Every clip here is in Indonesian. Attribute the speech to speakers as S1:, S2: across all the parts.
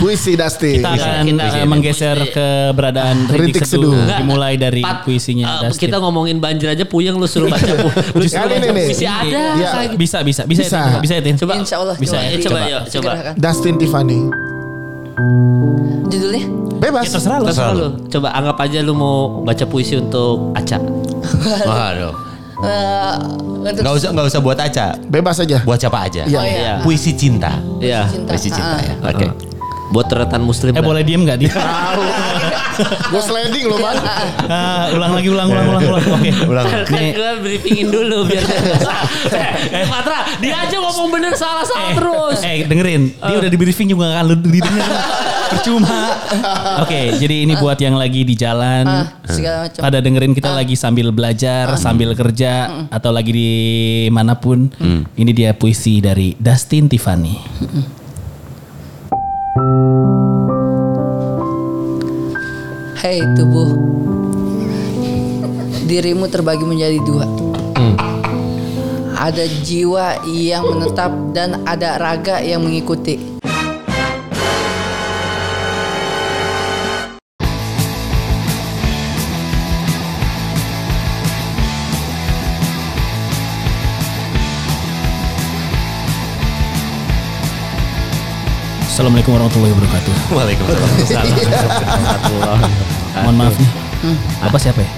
S1: Puisi Dusty.
S2: Kita akan
S3: Mungkin
S2: eh,
S3: puisi.
S2: menggeser keberadaan Rintik
S1: Rintik
S2: Seduh,
S1: Seduh.
S2: dimulai dari
S3: Pat-
S2: puisinya.
S3: eh,
S2: Dustin.
S3: kita ngomongin banjir aja puyeng lu suruh baca pu- lu suruh
S1: Kali
S3: baca
S1: ini nih.
S3: puisi ada
S1: Iya.
S3: lagi.
S2: Ya. bisa bisa bisa
S1: Bisa.
S2: Tin. bisa Tin.
S3: Coba
S4: Insya Allah.
S2: Bisa
S3: ya,
S2: ya,
S3: coba,
S4: iya,
S2: coba.
S3: yuk, coba.
S4: Segerakan.
S1: Dustin Tiffany.
S4: Judulnya?
S1: Bebas.
S2: Ya, terserah lu.
S3: Terserah lu. Coba anggap aja lu mau baca puisi untuk Aca.
S5: Waduh.
S4: Eh, untuk
S5: Gak usah nggak usah buat aca.
S1: Bebas aja.
S5: Buat siapa aja.
S4: Oh, iya.
S3: Iya.
S5: Puisi cinta.
S3: Iya.
S4: Cinta. Ah,
S5: Puisi cinta ya.
S3: Oke. Buat retan muslim.
S2: Eh
S3: kan?
S2: boleh diem gak di?
S1: Gue sliding loh bang.
S2: Ah, ulang lagi ulang ulang ulang ulang. Oke.
S5: Ulang.
S3: Kan
S2: Nih. eh,
S3: gue briefingin dulu biar dia nggak salah. Eh, Patra, dia aja ngomong bener salah-salah
S2: Eh,
S3: terus.
S2: Eh dengerin, dia udah di briefing juga kan lu didengar. Percuma. Oke, jadi ini buat yang lagi di jalan.
S4: Ah, segala macam.
S2: Pada dengerin kita lagi sambil belajar, sambil kerja, atau lagi di manapun.
S5: Hmm.
S2: Ini dia puisi dari Dustin Tiffany.
S4: Hei tubuh, dirimu terbagi menjadi dua. Ada jiwa yang menetap dan ada raga yang mengikuti.
S2: Assalamualaikum warahmatullahi wabarakatuh.
S5: Waalaikumsalam.
S2: Mohon maaf nih. Apa siapa ya?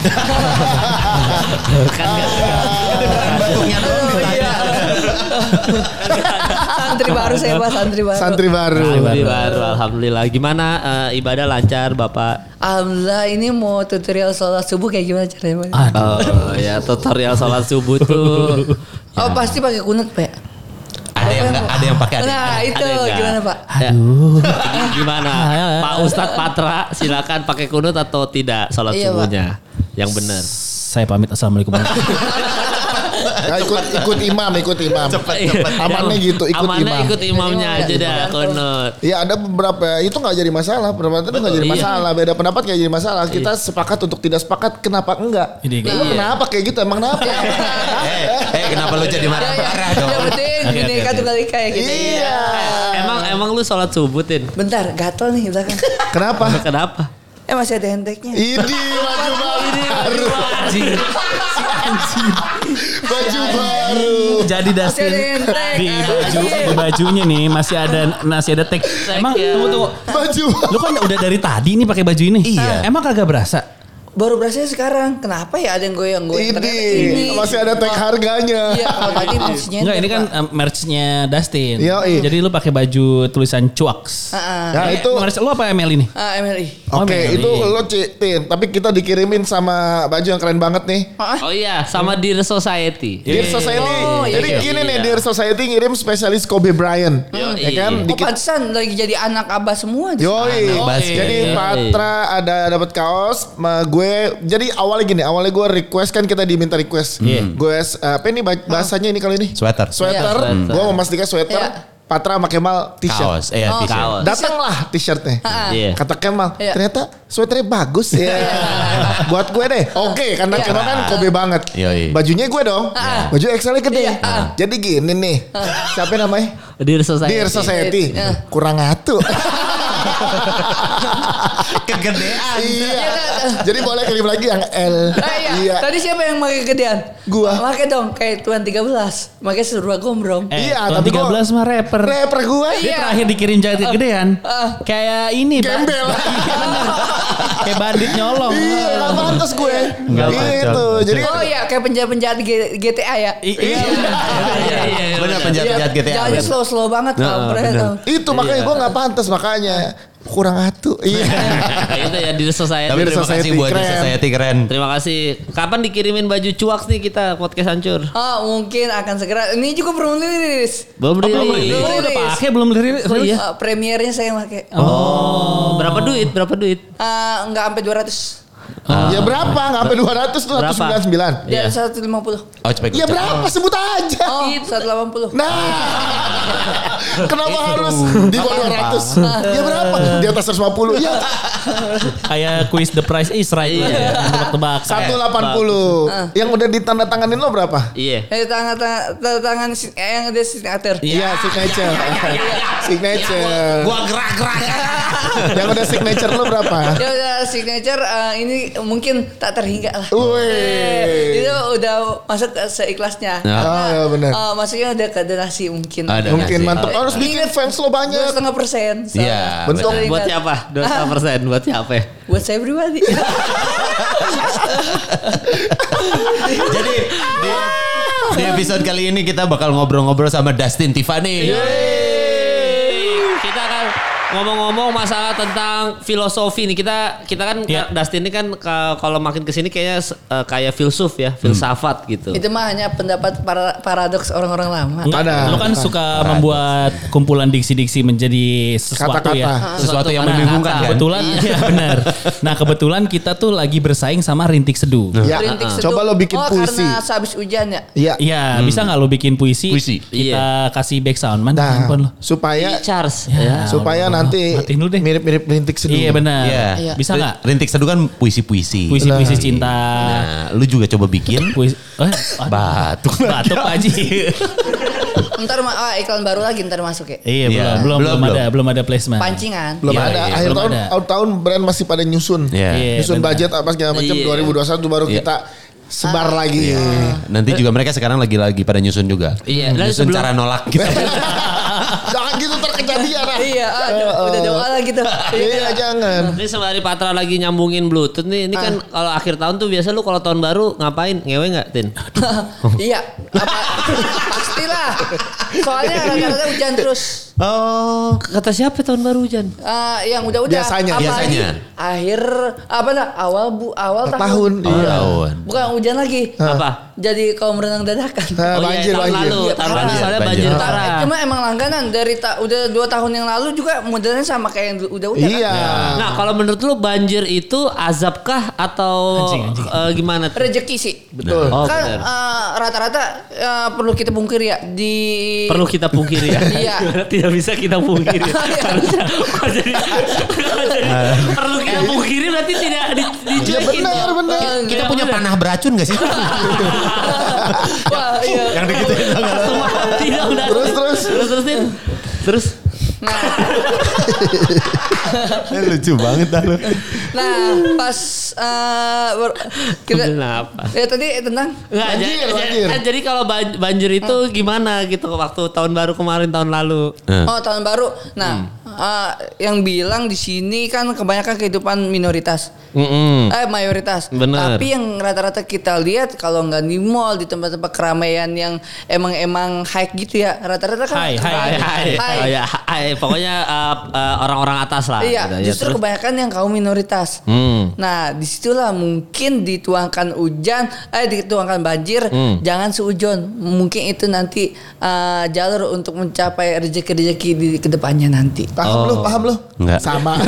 S2: Oh,
S3: iya.
S2: iya.
S4: Santri baru saya pak, santri baru.
S1: Santri baru.
S3: Alhamdulillah, baru, alhamdulillah. Gimana eh, ibadah lancar, Bapak?
S4: Alhamdulillah ini mau tutorial sholat subuh kayak gimana caranya? Pak?
S3: Oh, ya tutorial sholat subuh tuh.
S4: Oh pasti pakai kunut pak.
S5: Ada yang nggak ada yang pakai ada. yang-
S4: Nah
S5: ada-
S4: itu
S3: ada enggak?
S4: gimana pak? Ya.
S3: Aduh. Gimana? Pak Ustadz Patra, silakan pakai kunut atau tidak sholat
S4: Iya, Pak.
S3: subuhnya? Yang benar.
S2: Saya pamit assalamualaikum. warahmatullahi wabarakatuh.
S1: Ya, ikut ikut imam, ikut imam.
S5: Iya.
S1: Amannya gitu, ikut
S3: Amannya
S1: imam.
S3: ikut imamnya aja
S4: Jadi, iya,
S3: dah
S4: iya.
S3: kunut.
S1: Ya ada beberapa itu nggak jadi masalah, pendapat itu nggak jadi
S3: iya.
S1: masalah, beda pendapat nggak jadi masalah. Kita sepakat untuk tidak sepakat, kenapa enggak?
S2: Ini
S1: Lu
S2: enggak.
S1: kenapa kayak gitu? Emang kenapa?
S5: Eh, eh, kenapa lu jadi
S4: Iya,
S5: marah-marah dong?
S4: Ya, Yang penting
S2: Oke, oke,
S4: bineka
S2: oke.
S4: tunggal ika ya gitu.
S1: iya.
S3: Emang emang lu sholat subuh tin?
S4: Bentar, gatel nih belakang.
S1: Kenapa?
S3: Kenapa?
S4: Eh masih ada henteknya.
S1: Ini baju baru,
S2: Anjing.
S1: baju baru.
S2: Jadi Dustin
S4: ada yang tag.
S2: di baju di bajunya nih masih ada masih ada tag. Emang
S3: ya.
S2: tunggu tunggu.
S1: Baju
S2: Lu kan udah dari tadi nih pakai baju ini. Ah.
S5: Iya.
S2: Emang kagak berasa?
S4: Baru berasanya sekarang. Kenapa ya ada yang goyang-goyang? Ternyata
S1: ini masih ada tag harganya.
S4: Iya, kalau tadi maksudnya.
S2: Enggak, ini kan um, merch-nya Dustin.
S1: Yoi.
S2: Jadi lu pakai baju tulisan Cuaks.
S1: Ya itu
S2: merch lu apa ML ini?
S4: Ah, MLI.
S1: Oke,
S2: Meli.
S1: itu lo citin, tapi kita dikirimin sama baju yang keren banget nih.
S3: Oh iya, sama Dear Society.
S1: Dear Society.
S4: Oh, iya,
S1: Jadi
S3: iya.
S1: gini nih
S3: Iya.
S1: Dear Society ngirim spesialis Kobe Bryant.
S3: Yoi.
S1: Ya kan?
S4: Oh,
S1: Dikit
S4: pantesan lagi jadi anak abah semua. di sana.
S1: Yoi.
S5: Anak basket.
S1: Jadi
S3: Yoi.
S1: Patra ada dapat kaos, ma- gue jadi awalnya gini, awalnya gue request kan kita diminta request. Gue s- apa ini bah- bahasanya ini kali ini?
S5: Sweater.
S1: Sweater.
S3: Iya.
S1: Gue sama Mas Dika sweater.
S4: Iya.
S1: Patra sama Kemal t-shirt.
S5: Kaos,
S2: ya,
S5: eh
S4: Oh,
S5: t-shirt.
S3: Kaos.
S1: Datanglah t-shirtnya.
S4: Ah,
S3: Iya.
S1: Kata Kemal,
S4: Iya.
S1: ternyata sweaternya bagus ya. Buat gue deh. Oke, karena
S4: Iya.
S1: Kemal kan Kobe banget.
S5: Yoi.
S1: Bajunya gue dong. Baju XL gede.
S4: Iya.
S5: Iya.
S1: Jadi gini nih. Siapa namanya?
S3: Dear Society.
S1: Dear Society.
S4: Iya.
S1: Kurang atuh.
S5: Kegedean.
S1: iya. Jadi boleh kirim lagi yang L.
S4: Ah, iya. Tadi siapa yang pakai gedean? Ah,
S1: Gua.
S4: Pakai dong kayak tuan 13. Pakai serba gombrong.
S2: Eh,
S1: Iya,
S2: tahun
S1: tapi gua-
S2: 13 mah rapper.
S1: Rapper gue.
S2: Dia
S4: Iya.
S2: terakhir dikirim jaket gedean.
S4: ah.
S2: Kayak ini, Pak.
S1: Gembel.
S2: Kayak bandit nyolong.
S1: Iya, gak pantas gue.
S5: Nggak
S1: Gitu.
S5: pantas.
S1: Jadi
S4: Oh iya, kayak penjahat-penjahat G- GTA ya.
S2: I- iya.
S3: Iya, iya, iya.
S5: Bener penjahat-penjahat GTA.
S4: Jalannya slow-slow banget
S3: Nah,
S4: kampret.
S3: bener.
S4: tau.
S1: itu makanya
S5: Iya.
S1: gue gak pantas makanya kurang atuh. Iya.
S3: Nah, Itu ya Dear Society.
S5: Tapi terima kasih
S1: Society
S5: buat
S1: keren.
S5: Society keren.
S3: Terima kasih. Kapan dikirimin baju cuaks nih kita podcast hancur?
S4: Oh, mungkin akan segera. Ini juga belum rilis.
S3: Belum
S2: Lu
S3: rilis.
S2: Oh, udah pakai belum dari
S3: Oh, iya.
S1: Oh.
S4: Eh, premiernya saya pakai.
S3: Oh, berapa duit? Berapa duit?
S4: Eh, nggak sampai 200.
S1: Ya berapa? Nggak sampai 200 tuh
S3: Berapa?
S1: 199.
S4: Dari
S3: Iya.
S4: 150.
S5: Oh, cepet
S1: Ya berapa? Sebut aja.
S4: Oh, 180.
S1: Nah, kenapa harus di bawah 200? Ya berapa? Di atas 150. Ya
S2: Kayak quiz the price is right.
S3: Iya.
S2: Iya. Tebak-tebak.
S1: 180. Yang udah ditandatanganin lo berapa?
S3: Iya.
S4: Eh tangan tangan tangan si- eh, yang ada signature.
S1: Iya, signature. Signature.
S5: Gua gerak-gerak.
S1: Yang udah signature lo berapa?
S4: Ya udah signature eh, ini mungkin tak terhingga lah. Eh,
S1: Wih.
S4: Itu udah masuk ke seikhlasnya.
S5: Ya.
S1: Ah, ya benar.
S4: Eh, maksudnya udah ke donasi mungkin.
S5: Ada
S1: Mungkin
S5: nasi.
S1: mantep. Harus bikin fans lo
S4: Dua
S1: banyak.
S4: setengah persen. so-
S5: Iya.
S1: Bentuk.
S5: betul.
S3: Nah, Buat siapa? 200 persen. Buat siapa? ya?
S4: Buat saya pribadi.
S5: Jadi di, di episode kali ini kita bakal ngobrol-ngobrol sama Dustin Tiffany.
S3: Iya. Kita akan ngomong-ngomong masalah tentang filosofi nih. Kita kita kan
S2: Iya.
S3: Dustin ini kan ka- kalau makin kesini kayaknya se- eh, kayak filsuf ya, filsafat gitu.
S4: Itu mah hanya pendapat para, paradoks orang-orang lama.
S1: Ada.
S2: Enggak, lu kan
S1: Ada.
S2: suka membuat kumpulan diksi-diksi menjadi sesuatu
S1: Kata-kata.
S2: ya.
S5: Sesuatu yang
S3: Nah,
S5: membingungkan
S3: kata-
S5: kan?
S2: Kebetulan, ya benar. Nah kebetulan kita tuh lagi bersaing sama Rintik Seduh.
S1: Ya,
S4: Perintik seduh.
S1: coba lo bikin
S4: oh,
S1: puisi.
S4: karena sehabis hujan ya.
S1: Iya.
S2: Iya, bisa nggak lu bikin puisi?
S5: Puisi,
S2: Kita kasih back sound man
S1: Nah,
S2: handphone lu.
S1: supaya
S3: Charles.
S2: Ya,
S1: supaya
S2: Allah.
S1: nanti
S2: matiin lu deh.
S1: mirip-mirip rintik seduh.
S2: Iya benar.
S5: Iya.
S2: Bisa nggak?
S5: Rintik Seduh kan puisi-puisi.
S2: Puisi-puisi
S1: Iya.
S2: cinta.
S5: Nah, lu juga coba bikin
S2: Puisi. Eh, aduh.
S5: batuk.
S2: batuk Pak Haji.
S4: Ntar ma- ah, iklan baru lagi ntar masuk ya.
S2: Iya,
S5: Iya.
S2: belum, belum,
S5: Belum,
S2: belum, ada, belum ada placement.
S4: Pancingan.
S1: Belum
S5: Iya,
S1: ada.
S5: iya,
S1: Akhir
S2: belum
S1: tahun
S2: ada.
S1: out tahun brand masih pada nyusun.
S5: Iya.
S2: Iya,
S1: Nyusun
S2: benar.
S1: budget apa segala macam
S3: Iya.
S1: 2021 baru
S5: Iya.
S1: kita sebar lagi.
S5: Nanti juga mereka sekarang lagi-lagi pada nyusun juga. Hmm,
S3: Iya, dan
S5: Nyusun
S3: sebelum-
S5: cara nolak gitu.
S1: Iya. Jangan gitu terkejadian. ah.
S4: Iya, ah,
S1: Eh, eh.
S4: udah doa lah gitu.
S1: Iya, jangan.
S3: Ini sembari Patra lagi nyambungin Bluetooth nih. Ini kan kalau akhir tahun tuh biasa lu kalau tahun baru ngapain? Ngewe nggak, Tin?
S4: iya, apa, pastilah. Soalnya rata-rata hujan terus.
S5: Oh.
S3: Kata siapa tahun baru hujan?
S4: Eh, yang udah-udah.
S1: Biasanya,
S4: apalagi
S5: biasanya.
S4: Akhir apa lah? Awal bu, awal tahun.
S1: Tahun.
S5: Iya.
S1: Iya.
S4: Bukan hujan lagi.
S3: Apa?
S4: Jadi kaum renang dadakan.
S1: Eh,
S3: Oh iya,
S1: banjir,
S3: tahun
S1: banjir.
S3: lalu,
S4: Iya,
S3: tahun lalu
S5: banjir,
S3: soalnya
S5: banjir.
S3: banjir,
S5: Iya.
S4: Ta-
S3: parah.
S4: Cuma emang langganan dari ta- udah dua tahun yang lalu juga modelnya sama kayak yang dulu- udah-udah. kan?
S1: Iya.
S3: Nah, kalau menurut lu banjir itu azabkah atau
S2: Anjing, anjing.
S3: eh, gimana? tuh?
S4: Rezeki sih.
S1: Betul.
S3: Oh,
S4: kan
S3: benar.
S4: eh, rata-rata eh, perlu kita pungkiri ya di
S3: perlu kita pungkiri ya.
S4: Iya.
S3: Tidak bisa kita
S2: Gitu.
S3: pungkiri.
S4: Iya.
S3: Harusnya kalau jadi, kalau jadi perlu kita pungkiri berarti tidak di,
S1: Iya
S3: dicuekin.
S1: benar, benar.
S5: Kita punya
S2: Ah,
S5: panah beracun gak sih?
S4: Wah, iya.
S5: yang digituin banget.
S3: Semua tidak udah.
S1: Terus, terus.
S3: terus terus Tin. terus.
S4: Nah,
S5: Lucu banget dah lu.
S4: nah pas eh, ber- kita
S3: Kenapa?
S4: ya tadi tentang
S3: Nggak,
S1: Banjir,
S3: jadi,
S1: banjir.
S3: kan jadi kalau ban- banjir itu gimana gitu waktu tahun baru kemarin tahun lalu.
S4: oh tahun baru. Nah, eh, yang bilang di sini kan kebanyakan kehidupan minoritas. Eh mayoritas.
S3: Bener.
S4: Tapi yang rata-rata kita lihat kalau nggak di mall di tempat-tempat keramaian yang emang emang high gitu ya rata-rata kan.
S2: High, high,
S3: Hai, hai,
S4: High.
S3: Oh, ya, hai. Pokoknya eh, eh, orang-orang atas lah.
S4: Iya,
S3: Gitu, ya.
S4: justru
S3: Terus- Hmm.
S4: kebanyakan yang kaum minoritas. Nah, disitulah mungkin dituangkan hujan, eh dituangkan banjir,
S3: Hmm.
S4: jangan seujon. Mungkin itu nanti eh, jalur untuk mencapai rezeki-rezeki di kedepannya nanti.
S1: Paham lu, paham lu?
S5: Enggak.
S1: Sama.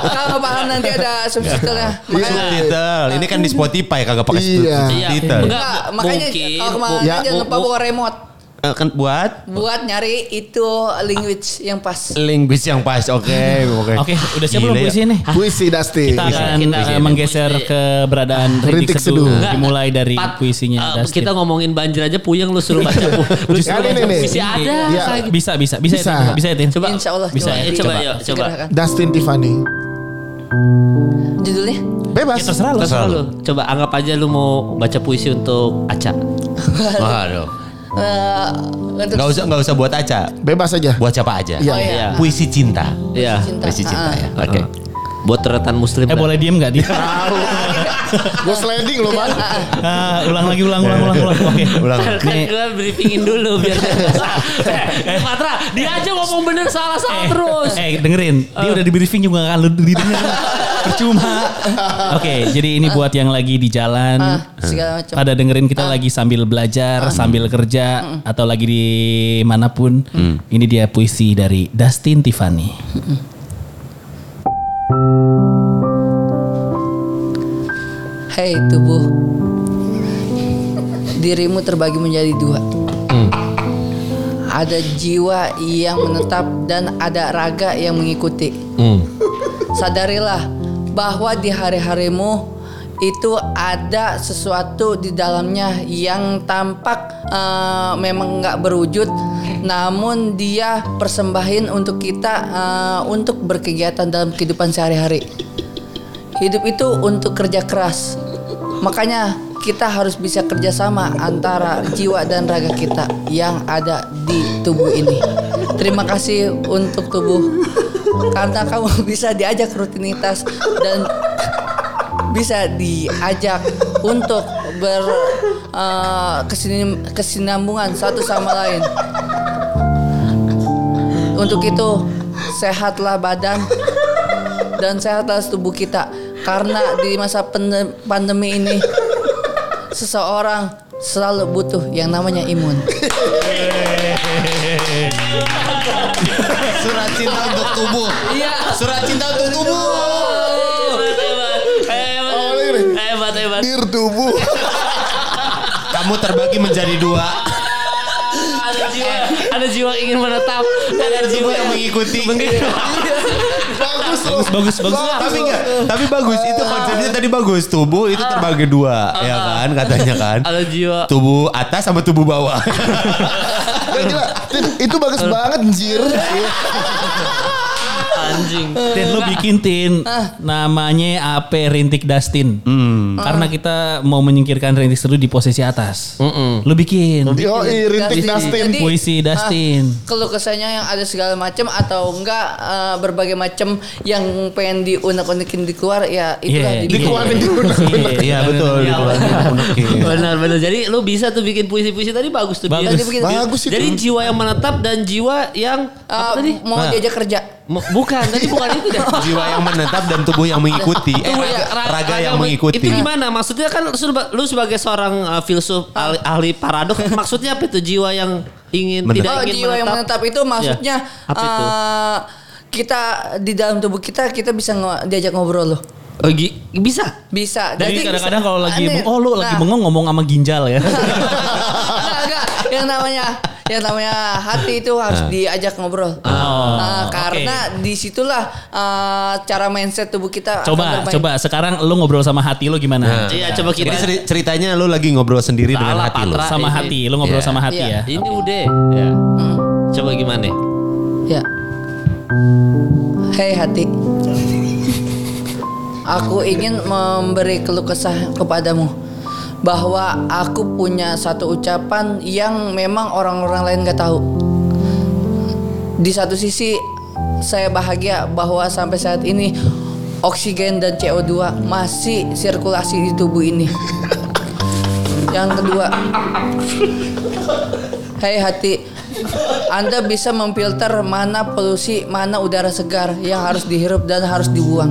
S4: Kalau paham nanti ada subtitlenya. Makanya,
S5: Subtitle. Ini kan di Spotify kagak pakai
S1: Iya.
S3: Iya,
S5: subtitle.
S3: enggak.
S4: Nah, makanya
S3: Mungkin.
S4: kalau kemarin
S1: Ya,
S4: jangan lupa
S3: mu-
S4: bawa remote
S5: Eh, Kan buat
S4: buat nyari itu language yang pas.
S5: linguis yang pas. Oke, oke.
S2: Oke, udah siap belum
S5: Gila ya.
S2: puisi ini?
S1: Puisi Dusty.
S2: Kita akan
S3: Kita
S2: eh,
S3: akan
S2: menggeser
S3: puisi.
S2: keberadaan
S1: Rintik
S2: Rintik Seduh.
S1: Seduh.
S3: Enggak.
S2: Dimulai dari
S3: Pat-
S2: puisinya
S3: eh,
S2: Dustin.
S3: kita ngomongin banjir aja puyeng lu suruh baca pu- lu
S1: Justru
S3: suruh
S1: ini
S3: baca
S1: nih.
S3: puisi ada
S1: Iya.
S3: kayak gitu.
S2: bisa bisa bisa
S1: Bisa.
S2: ya, Tin. bisa ya, Tin.
S3: coba
S4: Insya Allah
S2: Bisa
S4: coba,
S2: ya,
S3: coba,
S2: coba.
S3: yuk coba
S4: Segerakan.
S1: Dustin Tiffany.
S4: Judulnya
S1: Bebas.
S2: Ya, terserah lu.
S3: terserah lu coba anggap aja lu mau baca puisi untuk Aca
S5: Waduh.
S4: eh, untuk Oh,
S5: Enggak usah enggak usah buat aja.
S1: Bebas aja.
S5: Buat siapa aja?
S1: Iya.
S3: Iya.
S5: Puisi cinta.
S3: Iya.
S4: cinta.
S5: Puisi
S4: Ah.
S5: cinta ya.
S3: oke buat retan muslim
S2: Eh
S3: dah.
S2: boleh diem nggak di?
S1: Gue sliding loh, Bang.
S2: Ah, ulang lagi ulang ulang ulang ulang. Oke.
S5: Ulang.
S3: kan gue briefingin dulu biar dia nggak salah. Eh, Patra dia aja ngomong bener salah salah terus
S2: Eh dengerin, dia udah di briefing juga nggak akan lu didengar. Percuma. Oke, jadi ini buat yang lagi di jalan.
S4: Ah,
S3: Eh.
S4: segala macam.
S2: Pada dengerin kita
S4: Ah.
S2: lagi sambil belajar, sambil kerja, atau lagi di manapun. Ini dia puisi dari Dustin Tiffany.
S4: Hei tubuh, dirimu terbagi menjadi dua. Ada jiwa yang menetap dan ada raga yang mengikuti. Sadarilah bahwa di hari-harimu itu ada sesuatu di dalamnya yang tampak eh, memang nggak berwujud, namun dia persembahin untuk kita eh, untuk berkegiatan dalam kehidupan sehari-hari. Hidup itu untuk kerja keras. Makanya kita harus bisa kerjasama antara jiwa dan raga kita yang ada di tubuh ini. Terima kasih untuk tubuh karena kamu bisa diajak rutinitas dan bisa diajak untuk ber eh, kesin- kesinambungan satu sama lain. Untuk itu sehatlah badan dan sehatlah tubuh kita karena di masa pande- pandemi ini seseorang selalu butuh yang namanya imun.
S5: Surat cinta untuk tubuh.
S4: Iya.
S5: Surat cinta untuk tubuh.
S3: eh,
S1: Awalnya gini,
S3: Hebat, hebat.
S1: dir tubuh.
S5: Kamu terbagi menjadi dua.
S3: Ada jiwa, ada jiwa ingin menetap, ada
S5: Ada
S3: jiwa
S5: yang
S3: yang
S5: mengikuti. Iya,
S3: mengikuti.
S1: bagus loh.
S2: bagus, bagus.
S5: Tapi enggak, tapi bagus itu konsepnya tadi bagus. Tubuh itu terbagi dua, ya kan katanya kan.
S3: Ada jiwa.
S5: Tubuh atas sama tubuh bawah.
S1: Gak gila. Tin, Itu bagus banget anjir.
S3: Anjing.
S2: Tin lu bikin Tin
S4: Ah.
S2: namanya AP Rintik Dustin. Karena
S4: Ah.
S2: kita mau menyingkirkan rintik seru di posisi atas. Hmm. Lu bikin
S1: Yo, rintik Dustin.
S4: Jadi,
S2: puisi Dustin.
S4: Keluh kesahnya yang ada segala macam atau enggak eh, berbagai macam yang pengen diunek-unekin di keluar ya itulah
S2: Iya,
S4: dibikin.
S1: Dikeluarin
S2: iya.
S1: diunek-unek.
S2: Iya,
S5: Iya betul.
S3: Iya.
S5: dikeluarin, unekin.
S3: Benar benar. Jadi lu bisa tuh bikin puisi-puisi tadi bagus tuh.
S2: Bagus.
S4: Jadi bikin,
S1: Bagus itu.
S3: Jadi jiwa yang menetap dan jiwa yang
S4: eh,
S3: apa tadi?
S4: mau
S2: Nah.
S4: diajak kerja.
S3: Mu- Bukan, tadi bukan itu deh.
S5: Jiwa yang menetap dan tubuh yang mengikuti. Eh,
S3: Tuh,
S5: Oh, raga,
S3: ya, ra-
S5: raga yang
S3: men-
S5: mengikuti.
S3: Itu gimana? Maksudnya kan lu, seba- lu sebagai seorang uh, filsuf ahli, ahli paradok, maksudnya apa itu jiwa yang ingin
S5: Menetap.
S3: tidak
S4: Oh,
S3: ingin
S4: jiwa
S3: menetap?
S4: yang menetap itu
S2: Iya.
S4: maksudnya
S3: Ya, apa itu?
S4: eh, kita di dalam tubuh kita kita bisa ngo- diajak ngobrol loh.
S3: Oh, gi- bisa.
S4: Bisa.
S2: Jadi kadang-kadang
S4: bisa-
S2: kalau lagi
S4: aneh.
S2: oh lu lagi
S4: Nah,
S2: bengong ngomong sama ginjal ya.
S4: Enggak, enggak. Yang namanya yang namanya hati itu harus diajak ngobrol.
S2: Oh,
S4: Nah, karena disitulah eh, cara mindset tubuh kita. akan
S2: coba
S4: bermain.
S2: coba sekarang lu ngobrol sama hati lu gimana?
S3: Iya, coba kita
S5: Jadi ceri- ceritanya lu lagi ngobrol sendiri dengan
S3: Salah,
S5: hati lu.
S3: Patra.
S2: Sama
S3: Ini.
S2: hati, lu ngobrol
S5: Iya.
S2: sama hati
S4: Iya.
S2: ya.
S3: Ini udah. Coba gimana?
S4: Ya. Hei hati. Aku ingin memberi keluh kesah kepadamu bahwa aku punya satu ucapan yang memang orang-orang lain nggak tahu. Di satu sisi saya bahagia bahwa sampai saat ini oksigen dan CO2 masih sirkulasi di tubuh ini. Yang kedua, Hei hati, Anda bisa memfilter mana polusi, mana udara segar yang harus dihirup dan harus dibuang.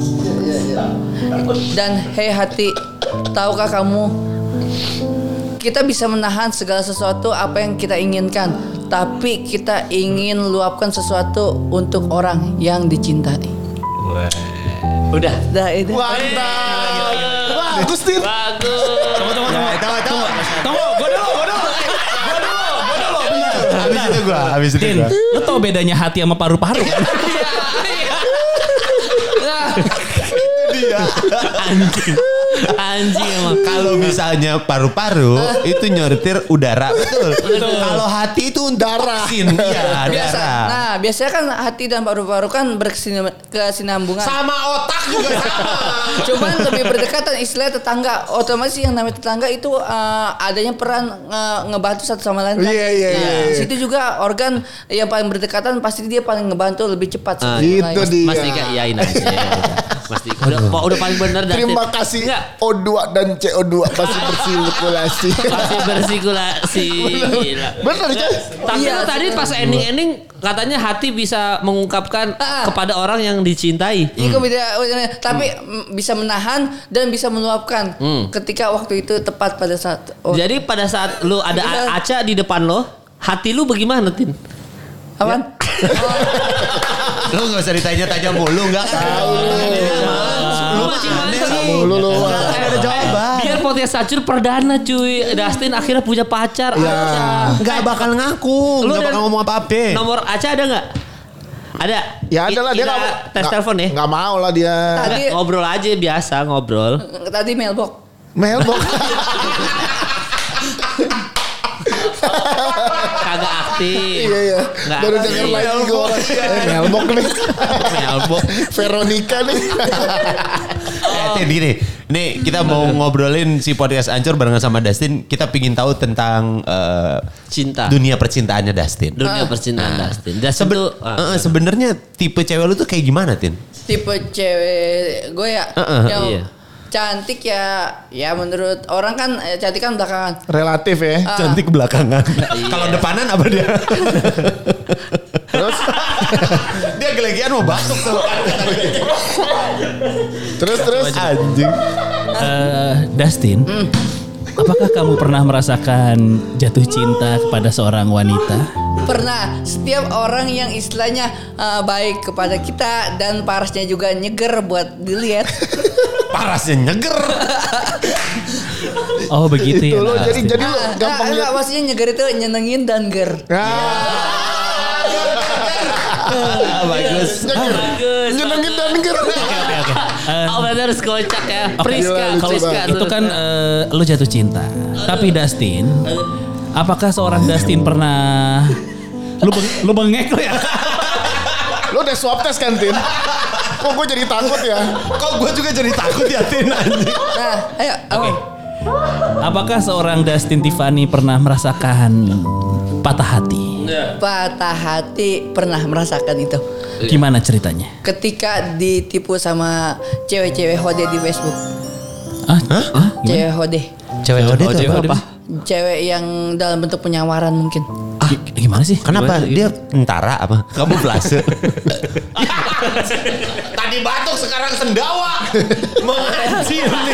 S4: Dan hei hati, tahukah kamu kita bisa menahan segala sesuatu apa yang kita inginkan, tapi kita ingin luapkan sesuatu untuk orang yang dicintai.
S3: Udah.
S4: Dah itu.
S1: Mantap. Bagus, Tin.
S3: Bagus.
S2: Tunggu, tunggu,
S5: Ya,
S2: tunggu.
S5: tahu tahu.
S2: Tunggu, gua dulu, gua dulu.
S3: Iya.
S2: Gua dulu, gua dulu. Bentar.
S5: Habis itu gua, habis itu
S2: Tin,
S1: Iya.
S5: gua.
S2: lu tau bedanya hati sama paru-paru
S3: Iya.
S2: Nah. kan?
S5: Dia.
S3: Anjing. Anjing emang.
S5: Kalau misalnya paru-paru itu nyortir udara betul. Kalau hati itu darah. Iya,
S4: Biasa.
S5: darah.
S4: Nah, biasanya kan hati dan paru-paru kan berkesinambungan.
S5: Sama otak juga sama.
S4: Cuman lebih berdekatan istilah tetangga. Otomatis yang namanya tetangga itu eh, adanya peran eh, ngebantu satu sama lain. kan?
S1: Iya, iya,
S4: Nah,
S1: iya, iya.
S4: Situ juga organ yang paling berdekatan pasti dia paling ngebantu lebih cepat.
S5: Ah,
S4: satu sama
S1: Itu
S4: lain.
S3: Mas Dika
S1: dia.
S3: iyain aja. Mas Dika udah, udah paling bener dah.
S1: Terima
S3: Tin.
S1: kasih
S3: Enggak.
S1: O2 dan CO2 masih bersirkulasi.
S3: Masih bersirkulasi. Gila.
S1: Bener, Coy.
S3: Tapi
S4: Iya,
S3: lu tadi
S4: bener.
S3: pas ending-ending katanya hati bisa mengungkapkan
S4: Ah.
S3: kepada orang yang dicintai.
S4: Iya,
S5: Hmm.
S4: kok beda- tapi mm, bisa menahan dan bisa meluapkan
S5: Hmm.
S4: ketika waktu itu tepat pada saat. Oh,
S3: Jadi pada saat lu ada
S4: Iya.
S3: A- Aca di depan lo, hati lu bagaimana, Tin?
S4: apaan?
S5: Nah. Lu enggak usah ditanya-tanya mulu enggak kan.
S1: Tahu.
S5: Dia mah
S3: Lu masih
S5: aneh
S3: mantep.
S5: lu.
S1: Mulu lu.
S5: Kan ada jawaban.
S3: Biar podcast hancur perdana cuy. Dustin akhirnya punya pacar.
S1: Iya.
S3: Aca.
S1: Ya.
S5: Gak bakal ngaku.
S3: Lu
S5: Gak
S3: dan-
S5: bakal ngomong apa-apa.
S3: Nomor Aca ada nggak? Ada.
S1: Ya ada lah dia
S3: Kita
S1: nggak
S3: tes
S1: nggak-
S3: telepon ya.
S1: Nggak mau lah dia.
S4: Tadi-
S3: Nggak, ngobrol aja biasa ngobrol.
S4: Tadi mailbox.
S1: Mailbox.
S3: Kagak aktif.
S1: Iya iya.
S3: Nggak
S1: Baru
S3: aktif.
S1: dengar lagi gue orang. Eh, Mailbox nih.
S5: Mailbox.
S1: Veronica nih.
S5: Eh, Tin, gini. Nih kita mau ngobrolin si podcast ancur barengan sama Dustin. Kita pingin tahu tentang eh,
S3: Cinta.
S5: dunia percintaannya Dustin.
S3: Dunia percintaan Dustin. Dustin
S5: Sebe-
S3: tuh. ah.
S5: eh, eh, sebenarnya tipe cewek lu tuh kayak gimana, Tin?
S4: Tipe cewek gue ya
S5: Heeh,
S4: yang
S3: iya.
S4: cantik ya ya menurut orang kan eh, cantik kan belakangan.
S1: Relatif ya.
S5: Cantik belakangan. Kalau depanan apa dia?
S1: Terus
S5: dia gelegian mau batuk tuh.
S1: terus terus.
S5: Anjing.
S2: Eh, Dustin,
S3: Hmm.
S2: apakah kamu pernah merasakan jatuh cinta kepada seorang wanita?
S4: Pernah setiap orang yang istilahnya eh, baik kepada kita dan parasnya juga nyeger buat dilihat.
S5: Parasnya nyeger.
S2: Oh begitu ya.
S1: Itu lo jadi
S2: Dustin.
S1: jadi lo
S4: Ah,
S1: gampang
S4: ah, enggak,
S1: lihat.
S4: maksudnya nyeger itu nyenengin dan ger.
S1: Ah,
S5: Ah, Bagus.
S3: Bagus.
S1: nyenengin dan gerak.
S3: Oh bener kocak ya. Priska,
S1: Gila, lucu
S3: Priska.
S1: banget.
S3: tuh.
S2: itu kan eh, lo jatuh cinta. Tapi Dustin,
S3: Eh.
S2: apakah seorang Dustin pernah lu beng- lu bengek lo ya?
S1: Lo udah swab test kan Tin? Kok gue jadi takut ya?
S5: Kok gue juga jadi takut ya, Tin? Anjing.
S4: Nah, ayo.
S2: Oke. Apakah seorang Dustin Tiffany pernah merasakan patah hati?
S4: Patah hati pernah merasakan itu.
S2: Gimana ceritanya?
S4: Ketika ditipu sama cewek-cewek hode di Facebook.
S2: Ah, ah, gimana?
S4: Cewek hode.
S5: Cewek
S3: Cewek
S5: OD
S3: OD
S5: tuh Oh, apa?
S3: apa?
S4: Cewek yang dalam bentuk penyawaran mungkin.
S2: Gi- gimana sih?
S5: Kenapa dia tentara apa? Kamu blase. Tadi batuk sekarang sendawa.
S1: Oh,
S5: Mengancil nih.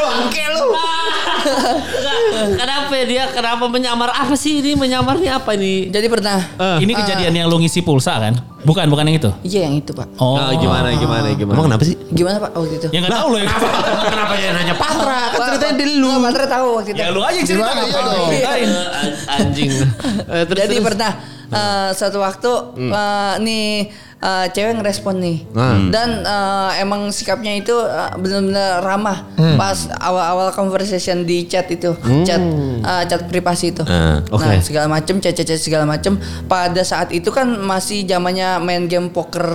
S5: Bangke lu.
S3: Nggak, Kenapa ya dia? Kenapa menyamar apa sih ini? Menyamar nih apa ini?
S4: Jadi pernah.
S5: Eh.
S2: Ini kejadian yang lo ngisi pulsa kan? Bukan, bukan yang itu.
S4: Iya yang itu pak.
S2: Oh,
S3: Ah,
S5: Nah,
S3: gimana gimana gimana?
S5: Emang kenapa sih?
S4: Gimana pak waktu itu?
S2: Ya nggak tahu lo yang
S5: kenapa dia nanya Patra? Kan ceritanya dia lu.
S4: Nggak, Patra tahu waktu itu.
S2: Ya lu aja yang cerita
S1: Gimana?
S2: ngapain
S1: Iya
S2: lo
S1: dong.
S2: ceritain.
S3: Ah, Anjing. Eh, terus,
S4: Ah. Jadi
S3: terus.
S4: pernah
S2: Nah.
S4: eh, suatu waktu eh, nih eh, cewek ngerespon nih
S2: Hmm.
S4: dan eh, emang sikapnya itu eh, benar-benar ramah pas awal-awal conversation di chat itu chat eh, chat privasi itu
S2: Ah,
S5: Eh, oke.
S4: nah segala macem chat chat, chat segala macem pada saat itu kan masih zamannya main game poker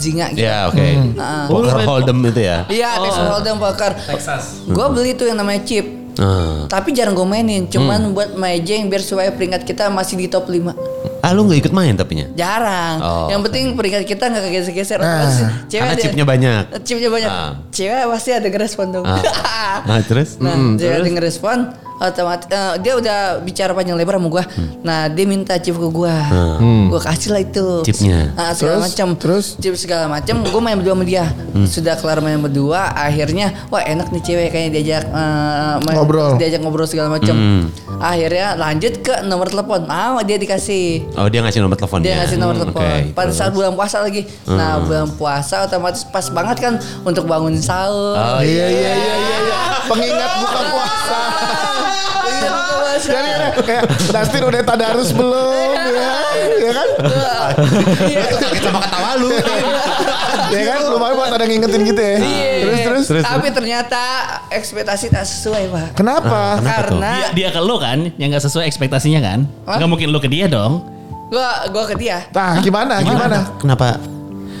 S4: zinga gitu
S5: Ya oke. Poker hold'em itu ya.
S4: Iya, Texas Hold'em poker. Texas. Gue beli tuh yang namanya chip.
S5: Ah.
S4: Tapi jarang gue mainin, cuman
S5: Hmm.
S4: buat mejeng biar supaya peringkat kita masih di top 5.
S5: Ah lu gak ikut main tapinya?
S4: Jarang.
S5: Oh.
S4: Yang penting peringkat kita nggak kegeser-geser.
S1: Nah.
S4: Pasti
S5: Karena
S4: ada-
S5: chipnya banyak.
S4: Chipnya banyak.
S5: Ah.
S4: Cewek pasti ada ngerespon dong.
S5: Nah terus?
S4: Nah, dia ada ngerespon otomatis eh, dia udah bicara panjang lebar sama gua. Nah, dia minta chip ke gua. Gua kasih lah itu.
S5: Chipnya.
S4: Ah, segala
S1: Hmm. Terus?
S4: macam.
S1: Terus?
S4: chip segala macam. Gua main berdua sama dia. Sudah kelar main berdua, akhirnya wah enak nih cewek kayaknya diajak eh, main-
S1: Ngobrol.
S4: diajak ngobrol segala macam. Akhirnya lanjut ke nomor telepon. Ah, dia dikasih.
S5: Oh dia ngasih nomor teleponnya.
S4: Dia ngasih nomor
S5: Hmm,
S4: telepon.
S5: oke.
S4: Pada saat bulan puasa lagi. Nah, bulan puasa otomatis pas banget kan untuk bangun sahur.
S5: Oh,
S1: Iya iya iya iya. iya. Pengingat buka puasa.
S4: Iya, buka puasa.
S1: Jadi ya, kayak Dustin udah tadarus belum ya? Ya kan?
S4: Iya.
S5: Sakit sama ketawa lu. Iya,
S1: Ya kan? Lumayan buat ada ngingetin gitu ya. Terus terus.
S4: Iya, Tapi ternyata ekspektasi tak sesuai, Pak. Ah,
S1: Kenapa?
S5: Kenapa tuh?
S4: Karena
S1: Iya,
S2: Dia, dia ke lo kan, yang nggak sesuai ekspektasinya kan?
S4: Hah?
S2: Nggak mungkin lo ke dia dong.
S4: gua gua ke dia.
S1: Nah, gimana? Gimana?
S5: Kenapa?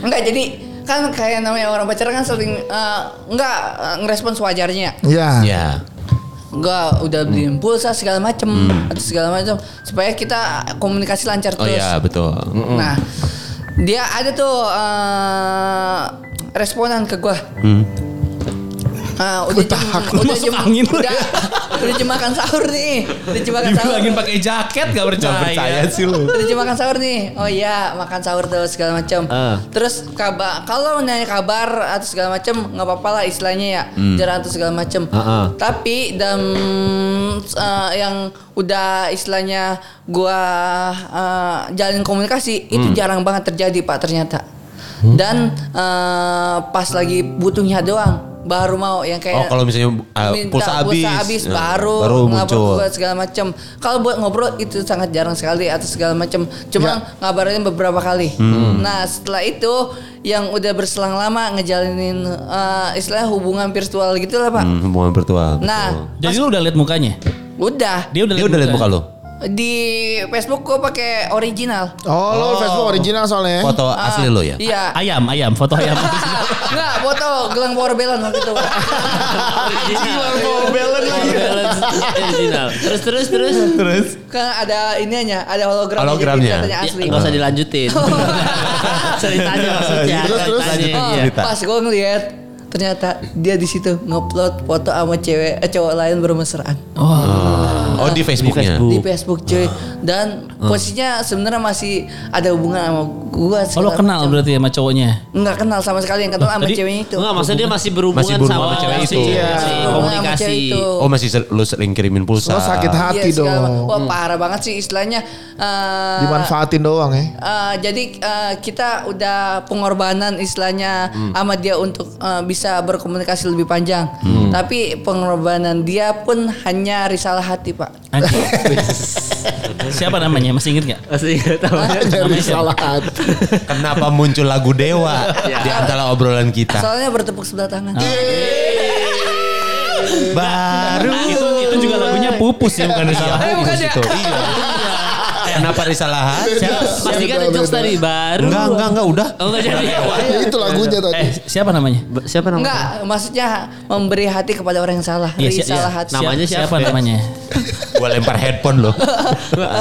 S4: Enggak, jadi kan kayak namanya orang pacaran kan sering eh, enggak eh, ngerespons wajarnya.
S1: Ya.
S5: Ya.
S4: Gua udah beliin pulsa segala macem atau segala macam supaya kita komunikasi lancar
S5: Hmm. Oh
S4: terus.
S5: ya betul.
S4: Nah, dia ada tuh eh, responan ke gua. Ah, udah jam, udah
S2: masuk
S4: jam,
S2: angin Hmm. lu ya?
S4: udah, udah jam makan sahur nih, udah jam makan sahur.
S2: Dibilangin pakai jaket nggak percaya.
S5: sih lu.
S4: Udah jam makan sahur nih. Oh iya, makan sahur tuh segala macam.
S5: Ah.
S4: Terus kabar kalau nanya kabar atau segala macam nggak apa-apa lah istilahnya ya.
S5: Hmm.
S4: Jarang atau segala macam.
S5: Ah,
S4: Tapi dalam eh, yang udah istilahnya
S5: Hmm.
S4: gua eh, jalin komunikasi itu jarang banget terjadi Pak ternyata. dan eh, pas lagi butuhnya doang baru mau yang kayak
S5: Oh, kalau misalnya, eh, pulsa habis.
S4: habis,
S5: Nah,
S4: baru,
S5: baru
S4: ngelapor
S5: muncul.
S4: ke segala macam kalau buat ngobrol itu sangat jarang sekali atau segala macam
S5: Ya.
S4: cuma ngabarin beberapa kali
S5: Hmm.
S4: nah setelah itu yang udah berselang lama ngejalinin eh, istilah hubungan virtual gitu lah pak
S5: Hmm, hubungan virtual.
S4: nah
S2: Jadi lu udah lihat mukanya?
S4: udah
S2: Dia udah
S5: Dia udah lihat muka lo?
S4: Eh? di Facebook gue pakai original
S1: Oh, lo Facebook original soalnya. ya?
S5: Foto asli lo ya?
S4: iya
S2: Ayam, ayam, foto ayam.
S4: Enggak, foto gelang power balance waktu itu.
S3: balance lagi. Balance original. Terus terus terus.
S5: Terus?
S4: kan ada ininya, ada hologram.
S5: Hologramnya.
S4: Katanya
S3: Ya,
S4: asli.
S3: Enggak usah dilanjutin. Ceritanya maksudnya.
S1: Terus, terus.
S3: ceritanya.
S4: Oh,
S5: cerita.
S4: pas gue ngeliat ternyata dia di situ ngupload foto sama cewek eh, cowok lain bermesraan
S5: Oh di Facebooknya.
S2: Facebook.
S4: di Facebook cuy dan posisinya sebenarnya masih ada hubungan sama
S2: Oh
S4: gua
S2: lo
S4: segala
S2: kenal
S4: macam.
S2: berarti sama cowoknya?
S4: nggak kenal sama sekali yang kenal sama
S2: jadi-
S4: ceweknya itu
S3: Enggak, maksudnya dia masih berhubungan,
S5: Masih berhubungan sama cewek
S3: si-
S5: itu.
S3: si-
S5: Iya.
S3: si
S4: Hubungan sama
S3: komunikasi.
S4: cewek itu.
S5: Oh masih ser- lu sering kirimin pulsa.
S1: Lo sakit
S4: Iya,
S1: hati
S4: segala
S1: dong.
S4: macam. wah parah banget sih istilahnya eh,
S1: Dimanfaatin doang ya.
S4: Eh, jadi eh, kita udah pengorbanan istilahnya sama dia untuk eh, bisa berkomunikasi lebih panjang. Tapi pengorbanan dia pun hanya risalah hati pak.
S2: Anjing. Siapa namanya? Masih inget gak?
S3: Masih nggak tahu.
S1: Jadi
S2: namanya siapa?
S1: salah hati.
S5: Kenapa muncul lagu Dewa di antara obrolan kita?
S4: Soalnya bertepuk sebelah tangan.
S1: Ah.
S5: Baru
S2: Itu itu juga lagunya pupus ya bukan salah.
S4: Eh, bukan ya.
S5: itu. Iya. Kenapa Risalah Hati?
S3: Siapa? Mas Dika ada jokes tadi baru.
S5: Enggak, enggak, enggak udah.
S3: Oh, enggak jadi.
S1: Ya, itu lagunya
S2: Eh
S1: tadi.
S2: siapa namanya?
S3: Ba- Siapa namanya?
S4: Enggak, maksudnya memberi hati kepada orang yang salah.
S2: Iya, si-
S4: risalah
S2: iya.
S4: hati.
S3: Nah. Namanya siapa?
S2: Siapa namanya?
S5: Gua lempar headphone loh.